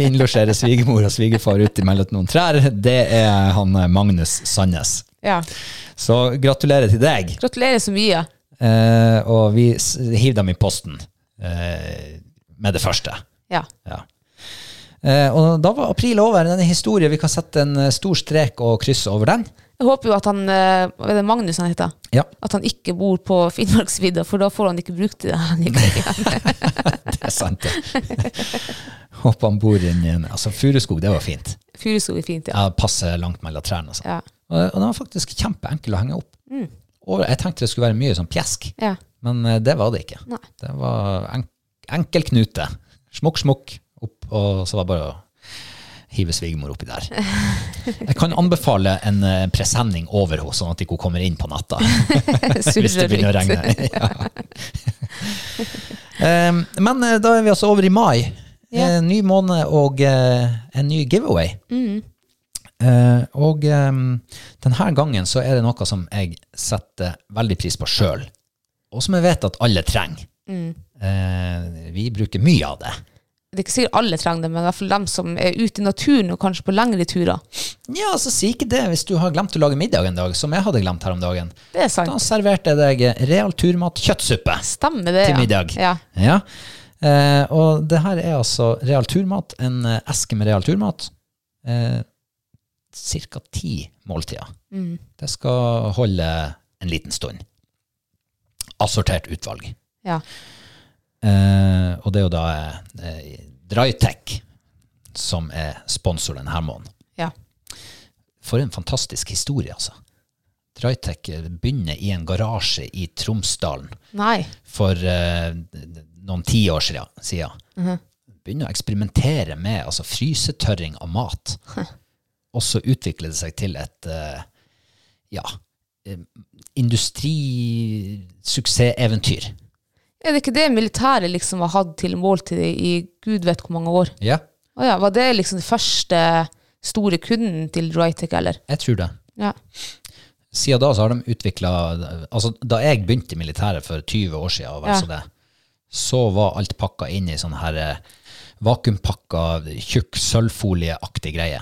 Speaker 1: innlosjere svigermor og svigerfar ut mellom noen trær, det er han eh, Magnus Sandnes.
Speaker 2: ja.
Speaker 1: Så gratulerer til deg.
Speaker 2: Gratulerer så mye.
Speaker 1: Eh, og vi s- hiver dem i posten eh, med det første.
Speaker 2: Ja.
Speaker 1: Ja. Eh, og da var april over. Denne historien, vi kan sette en eh, stor strek og kryss over den.
Speaker 2: Jeg håper jo at han eh, Hva er det Magnus han heter?
Speaker 1: Ja,
Speaker 2: At han ikke bor på Finnmarksvidda, for da får han ikke brukt det. Han ikke.
Speaker 1: det er sant. det. Håper han bor inni en Altså, Furuskog, det var fint.
Speaker 2: Furuskog er fint, ja.
Speaker 1: Ja, passe langt mellom trærne. Og, sånn.
Speaker 2: Ja.
Speaker 1: og, og den var faktisk kjempeenkel å henge opp. Og jeg tenkte det skulle være mye sånn pjesk,
Speaker 2: ja.
Speaker 1: men eh, det var det ikke.
Speaker 2: Nei.
Speaker 1: Det var en, enkel knute. Smukk, smukk, opp, og så var det bare å hive svigermor oppi der. Jeg kan anbefale en eh, presenning over henne, sånn at ikke hun kommer inn på natta. Hvis det
Speaker 2: Surrer
Speaker 1: begynner å
Speaker 2: litt.
Speaker 1: regne. Ja. Em, men eh, da er vi altså over i mai.
Speaker 2: Ja.
Speaker 1: En ny måned og eh, en ny giveaway. Eh, og em, denne gangen så er det noe som jeg setter veldig pris på sjøl, og som jeg vet at alle trenger. Eh, vi bruker mye av det.
Speaker 2: Det er ikke sikkert alle trenger det, men i hvert fall dem som er ute i naturen og kanskje på lengre turer.
Speaker 1: Ja, så si ikke det hvis du har glemt å lage middag en dag, som jeg hadde glemt her om dagen.
Speaker 2: Det er
Speaker 1: Da
Speaker 2: sant.
Speaker 1: serverte jeg deg real turmat kjøttsuppe.
Speaker 2: Stemmer det.
Speaker 1: til
Speaker 2: ja.
Speaker 1: middag.
Speaker 2: Ja.
Speaker 1: Ja. Eh, og det her er altså real turmat, en eh, eske med real turmat. Eh, cirka ti måltider.
Speaker 2: Mm.
Speaker 1: Det skal holde en liten stund. Assortert utvalg.
Speaker 2: Ja.
Speaker 1: Eh, og det er jo da eh, Drytech som er sponsor denne måneden.
Speaker 2: ja.
Speaker 1: For en fantastisk historie, altså. Drytech eh, begynner i en garasje i Tromsdalen
Speaker 2: Nei.
Speaker 1: for eh, noen tiår siden, siden begynne å eksperimentere med altså frysetørring av mat. Og så utvikle det seg til et eh, ja, eh, industrisuksesseventyr.
Speaker 2: Er det ikke det militæret liksom har hatt til måltid i gud vet hvor mange år?
Speaker 1: Ja,
Speaker 2: Å ja, Var det liksom den første store kunden til Drytec, eller?
Speaker 1: jeg tror det.
Speaker 2: Ja.
Speaker 1: Siden da så har de utvikla altså, Da jeg begynte i militæret for 20 år siden, og vel
Speaker 2: Ja.
Speaker 1: så det, så var alt pakka inn i sånn her eh, vakuumpakka, tjukk sølvfolieaktig greie.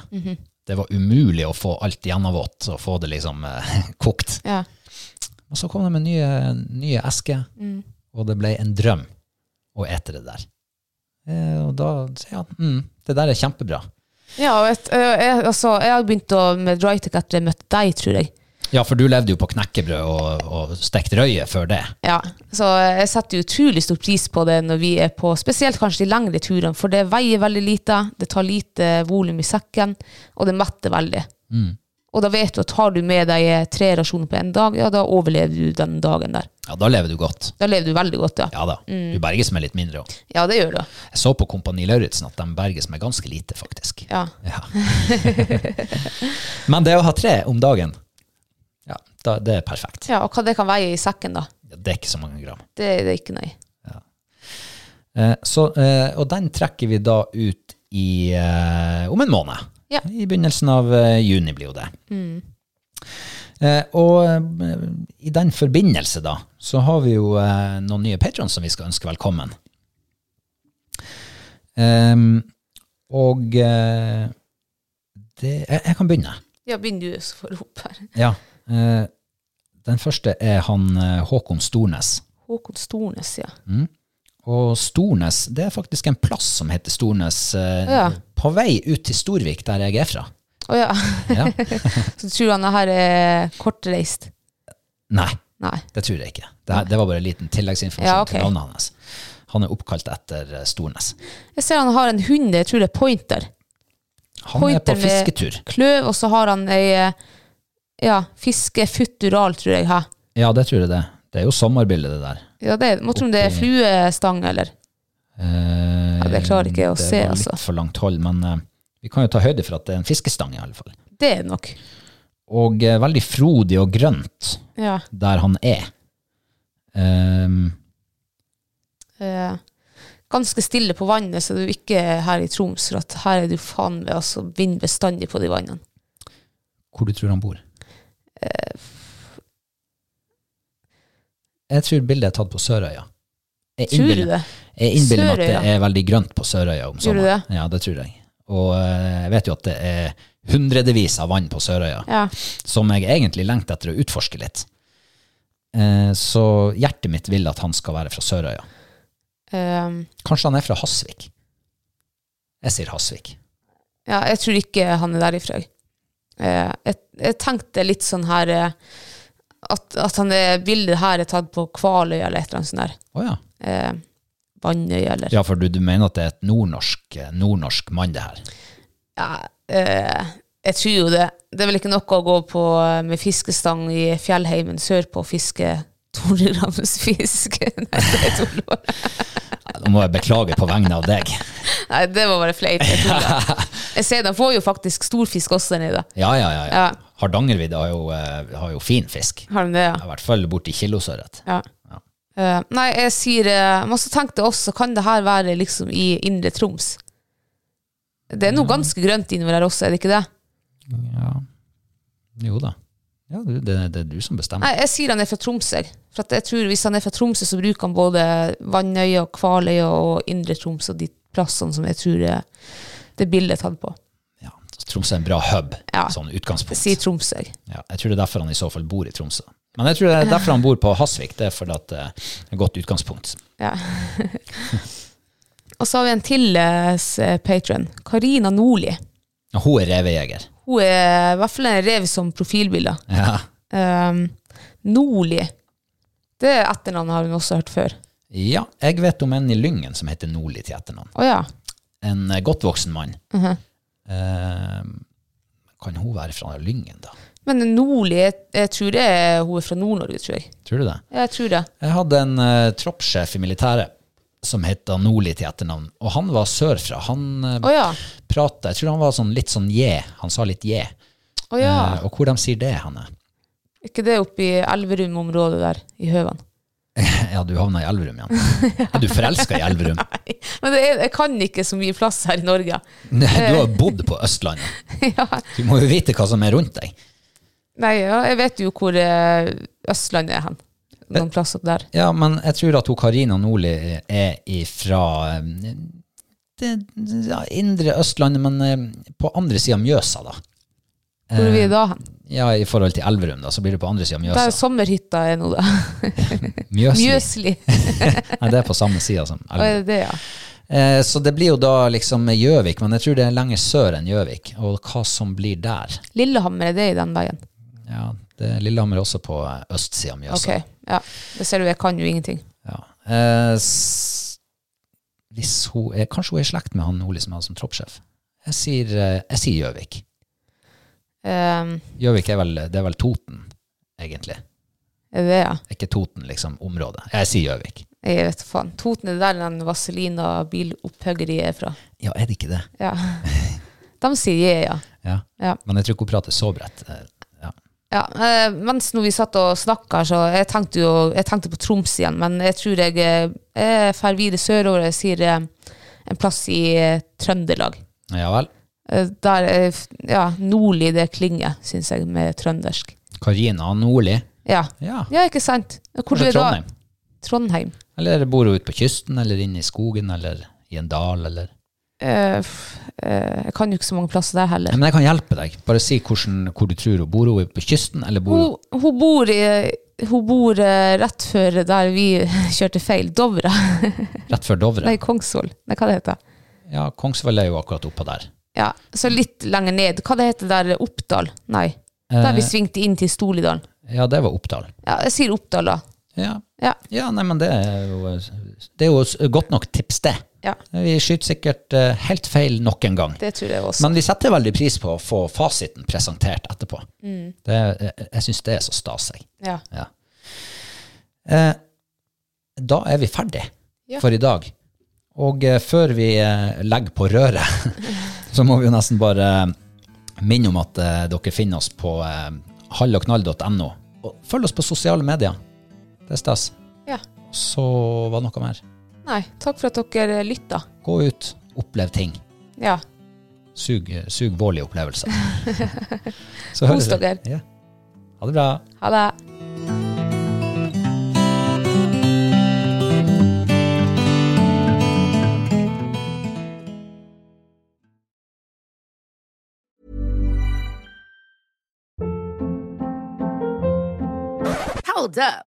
Speaker 1: Det var umulig å få alt gjennomvått og få det liksom eh, kokt.
Speaker 2: ja.
Speaker 1: Og så kom de med nye, nye esker, og det ble en drøm å ete det der. Eh, og da Ja, mm, det der er kjempebra.
Speaker 2: Ja, og et, ø, jeg, altså, jeg har begynt å, med Drytec etter jeg møtte deg, tror jeg.
Speaker 1: Ja, for du levde jo på knekkebrød og, og stekt røye før det.
Speaker 2: Ja, Så jeg setter jo utrolig stor pris på det når vi er på spesielt kanskje de lengre turene, for det veier veldig lite, det tar lite volum i sekken, og det metter veldig. Og da vet du at har du med deg tre rasjoner på én dag, ja, da overlever du den dagen der.
Speaker 1: Ja, da lever du godt.
Speaker 2: Da lever du veldig godt, ja.
Speaker 1: Ja da. Du berges med litt mindre òg.
Speaker 2: Ja, det gjør du.
Speaker 1: Jeg så på Kompani Lauritzen at de berges med ganske lite, faktisk.
Speaker 2: Ja.
Speaker 1: Ja. Men det å ha tre om dagen, ja, da, det er perfekt.
Speaker 2: ja, og hva det kan veie i sekken, da.
Speaker 1: Det er ikke så mange gram.
Speaker 2: Det, det er ikke nøye.
Speaker 1: Eh, så, eh, og den trekker vi da ut i, eh, om en måned.
Speaker 2: Ja.
Speaker 1: I begynnelsen av eh, juni blir jo det. Eh, og eh, i den forbindelse da, så har vi jo eh, noen nye patrons som vi skal ønske velkommen. Ehm, og eh, det, jeg, jeg kan begynne.
Speaker 2: Ja, begynn du så får du opp her.
Speaker 1: Ja. Eh, den første er han eh, Håkon Stornes.
Speaker 2: Håkon Stornes, ja.
Speaker 1: Og Stornes, det er faktisk en plass som heter Stornes, eh,
Speaker 2: Ja.
Speaker 1: på vei ut til Storvik, der jeg er fra.
Speaker 2: Å ja.
Speaker 1: Ja.
Speaker 2: Så tror han det her er kortreist.
Speaker 1: Nei,
Speaker 2: Nei.
Speaker 1: det tror jeg ikke. Det, her- det var bare en liten tilleggsinformasjon
Speaker 2: Ja, ok.
Speaker 1: til navnet hans. Han er oppkalt etter eh, Stornes.
Speaker 2: Jeg ser han har en hund, jeg tror det er pointer.
Speaker 1: Han
Speaker 2: Pointer
Speaker 1: er på
Speaker 2: med-
Speaker 1: fisketur.
Speaker 2: Kløv, og så har han ei eh, ja, fiskefutural, tror jeg. Hæ?
Speaker 1: Ja, det tror jeg det. Det er jo sommerbildet, det der.
Speaker 2: Ja, det, må tro om det er
Speaker 1: Oppi-
Speaker 2: fluestang, eller?
Speaker 1: Eh,
Speaker 2: det klarer ikke jeg å se,
Speaker 1: Det var
Speaker 2: altså.
Speaker 1: litt for langt hold, men eh, vi kan jo ta høyde for at det er en fiskestang, i alle fall.
Speaker 2: Det er nok.
Speaker 1: Og eh, veldig frodig og grønt
Speaker 2: Ja.
Speaker 1: der han er. Ehm,
Speaker 2: Eh, ganske stille på vannet, så du er ikke her i Troms, for at her er du faen ved altså vind bestandig på de vannene.
Speaker 1: hvor du tror han bor? jeg tror bildet er tatt på Sørøya. Jeg
Speaker 2: Tror du
Speaker 1: innbiller-
Speaker 2: det?
Speaker 1: Jeg innbiller meg at det
Speaker 2: Sørøya?
Speaker 1: er veldig grønt på Sørøya om
Speaker 2: Gjør du
Speaker 1: sommeren. Ja, det tror jeg. Og eh, jeg vet jo at det er hundredevis av vann på Sørøya,
Speaker 2: Ja.
Speaker 1: som jeg egentlig lengter etter å utforske litt. Eh, Så hjertet mitt vil at han skal være fra Sørøya.
Speaker 2: Ehm,
Speaker 1: Kanskje han er fra Hasvik? Jeg sier Hasvik.
Speaker 2: ja, jeg tror ikke han er derifra. Eh, jeg, jeg tenkte litt sånn her eh, at, at han er, bildet her er tatt på Kvaløya eller et eller annet sånt der.
Speaker 1: Å ja.
Speaker 2: Eh, Vannøya eller
Speaker 1: Ja, for du, du mener at det er et nordnorsk, eh, nordnorsk mann, det her?
Speaker 2: Ja, eh, jeg tror jo det. Det er vel ikke noe å gå på eh, med fiskestang i fjellheimen sørpå og fiske 200 grams fisk. Nei, det tuller.
Speaker 1: Nå må jeg beklage på vegne av deg.
Speaker 2: Nei, det var bare fleip. Jeg tuller. Jeg ser de får jo faktisk stor fisk også der nede.
Speaker 1: Ja, ja, ja. ja.
Speaker 2: Ja.
Speaker 1: Hardangervidda har, jo, eh, har jo fin fisk.
Speaker 2: Har de det, ja?
Speaker 1: I hvert fall borti kilosørret.
Speaker 2: ja. Eh, nei, jeg sier eh, Men så tenkte jeg også, kan det her være liksom i Indre Troms? Det er noe ganske grønt innover her også, er det ikke det?
Speaker 1: Ja. Jo da. Ja, du, det, det er du som bestemmer.
Speaker 2: Nei, jeg sier han er fra Tromsø. For at jeg tror Hvis han er fra Tromsø, så bruker han både Vannøya, og Kvaløya og Indre Troms og de plassene som jeg tror det, det bildet er tatt på.
Speaker 1: Ja, Tromsø er en bra hub,
Speaker 2: Ja.
Speaker 1: sånn utgangspunkt.
Speaker 2: Jeg sier Tromsø.
Speaker 1: Ja, jeg tror det er derfor han i så fall bor i Tromsø. Men jeg tror det er derfor han bor på Hasvik. Det er fordi at eh, det er et godt utgangspunkt.
Speaker 2: Ja. og så har vi en til eh, patron. Karina Nordli.
Speaker 1: Og hun er revejeger.
Speaker 2: Hun er i hvert fall en rev som profilbilde.
Speaker 1: Ja.
Speaker 2: Um, Nordli. Det etternavnet har hun også hørt før.
Speaker 1: ja, jeg vet om en i Lyngen som heter Nordli til etternavn.
Speaker 2: Å ja.
Speaker 1: en eh, godt voksen mann. Eh, kan hun være fra Lyngen, da?
Speaker 2: Men Nordli, jeg, jeg tror det er, hun er fra Nord-Norge, tror jeg.
Speaker 1: Tror du det?
Speaker 2: Jeg tror det.
Speaker 1: Jeg hadde en eh, troppssjef i militæret som het Nordli til etternavn, og han var sørfra. Han eh,
Speaker 2: Å ja.
Speaker 1: prata Jeg tror han var sånn, litt sånn je. Han sa litt je.
Speaker 2: Å ja.
Speaker 1: Eh, og hvor de sier det henne?
Speaker 2: ikke det oppe i Elverum-området der, i Høven?
Speaker 1: Eh, Ja, du havna i Elverum igjen. Er du forelska i Elverum?
Speaker 2: Nei, men det er, jeg kan ikke så mye plass her i Norge.
Speaker 1: Du har bodd på Østlandet.
Speaker 2: ja.
Speaker 1: Du må jo vite hva som er rundt deg.
Speaker 2: Nei, ja, jeg vet jo hvor eh, Østlandet er hen. Noen plass opp der.
Speaker 1: Ja, men jeg tror at hun Karina Nordli er ifra eh, det, det- ja, indre Østlandet, men eh, på andre sida av Mjøsa, da.
Speaker 2: Hvor er vi da hen?
Speaker 1: Ja, I forhold til Elverum, da, så blir det på andre sida av
Speaker 2: Der
Speaker 1: Mjøsa.
Speaker 2: sommerhytta er nå, da.
Speaker 1: Mjøsli.
Speaker 2: Mjøsli.
Speaker 1: Nei, det er på samme sida som
Speaker 2: Hva er
Speaker 1: Elverum.
Speaker 2: det, ja?
Speaker 1: Eh, så det blir jo da liksom Gjøvik, men jeg tror det er lenger sør enn Gjøvik. Og hva som blir der
Speaker 2: Lillehammer er det i den veien.
Speaker 1: Ja, det er Lillehammer også på eh, østsida av Mjøsa.
Speaker 2: Ok, ja. Det ser du, jeg kan jo ingenting.
Speaker 1: Ja. Eh, s- hvis hun er, kanskje hun er i slekt med han Nordli som er som troppssjef. Jeg sier eh, jeg sier Gjøvik.
Speaker 2: Ehm,
Speaker 1: Gjøvik er vel, det er vel Toten, egentlig.
Speaker 2: er det, ja?
Speaker 1: Er ikke Toten liksom området? Jeg sier Gjøvik.
Speaker 2: Jeg vet faen. Toten er der den Vazelina bilopphøggeriet er fra.
Speaker 1: Ja, er det ikke det?
Speaker 2: Ja. De sier jeg, ja.
Speaker 1: Ja.
Speaker 2: Ja.
Speaker 1: Men jeg tror ikke hun prater så bredt. Eh, Ja.
Speaker 2: Ja, eh, mens når vi satt og snakka, så jeg tenkte jo jeg tenkte på Troms igjen, men jeg tror jeg eh, jeg drar videre sørover. Jeg sier eh, en plass i eh, Trøndelag.
Speaker 1: ja vel.
Speaker 2: Eh, Der eh, f- ja, nordlig det klinger, syns jeg, med trøndersk.
Speaker 1: Karina Nordli.
Speaker 2: Ja,
Speaker 1: Ja.
Speaker 2: ja ikke sant? Hvor
Speaker 1: Kanskje
Speaker 2: er da?
Speaker 1: Trondheim?
Speaker 2: Trondheim.
Speaker 1: Eller bor hun ute på kysten, eller inne i skogen, eller i en dal, eller
Speaker 2: Eh, f- eh, jeg kan jo ikke så mange plasser der
Speaker 1: Nei,
Speaker 2: heller.
Speaker 1: Men jeg kan hjelpe deg. Bare si hvordan, hvor du tror hun bor. Hun er på kysten, eller bor hun
Speaker 2: Hun, hun bor, i, hun bor eh, rett før der vi kjørte feil. Dovra.
Speaker 1: rett før Dovre?
Speaker 2: Nei, Kongsvoll. Nei, hva det heter det?
Speaker 1: Ja, Kongsvoll er jo akkurat oppå der.
Speaker 2: Ja, så litt lenger ned. Hva det heter der? Oppdal? Nei. Der
Speaker 1: Eh.
Speaker 2: vi svingte inn til Storlidalen.
Speaker 1: Ja, det var Oppdal.
Speaker 2: Ja, jeg sier Oppdal, da.
Speaker 1: Ja,
Speaker 2: Ja.
Speaker 1: ja nei, men det er jo, det er jo s- godt nok tips, det.
Speaker 2: ja
Speaker 1: Vi skyter sikkert eh, helt feil nok en gang.
Speaker 2: det tror jeg også.
Speaker 1: Men vi setter veldig pris på å få fasiten presentert etterpå.
Speaker 2: Mm.
Speaker 1: Det, jeg jeg syns det er så stas, jeg.
Speaker 2: ja.
Speaker 1: Ja. Eh, da er vi ferdig
Speaker 2: Ja.
Speaker 1: for i dag. Og eh, før vi eh, legger på røret, så må vi jo nesten bare eh, minne om at eh, dere finner oss på eh, hallogknall.no. Og følg oss på sosiale medier. Det er stas.
Speaker 2: Ja.
Speaker 1: Så var det noe mer.
Speaker 2: Nei, takk for at dere lytta.
Speaker 1: Gå ut, opplev ting.
Speaker 2: Ja.
Speaker 1: Sug, eh, sug vårlige opplevelser. Så
Speaker 2: Kos
Speaker 1: høres vi.
Speaker 2: dere.
Speaker 1: Ja. Ha det bra.
Speaker 2: Ha det.
Speaker 3: Hold up.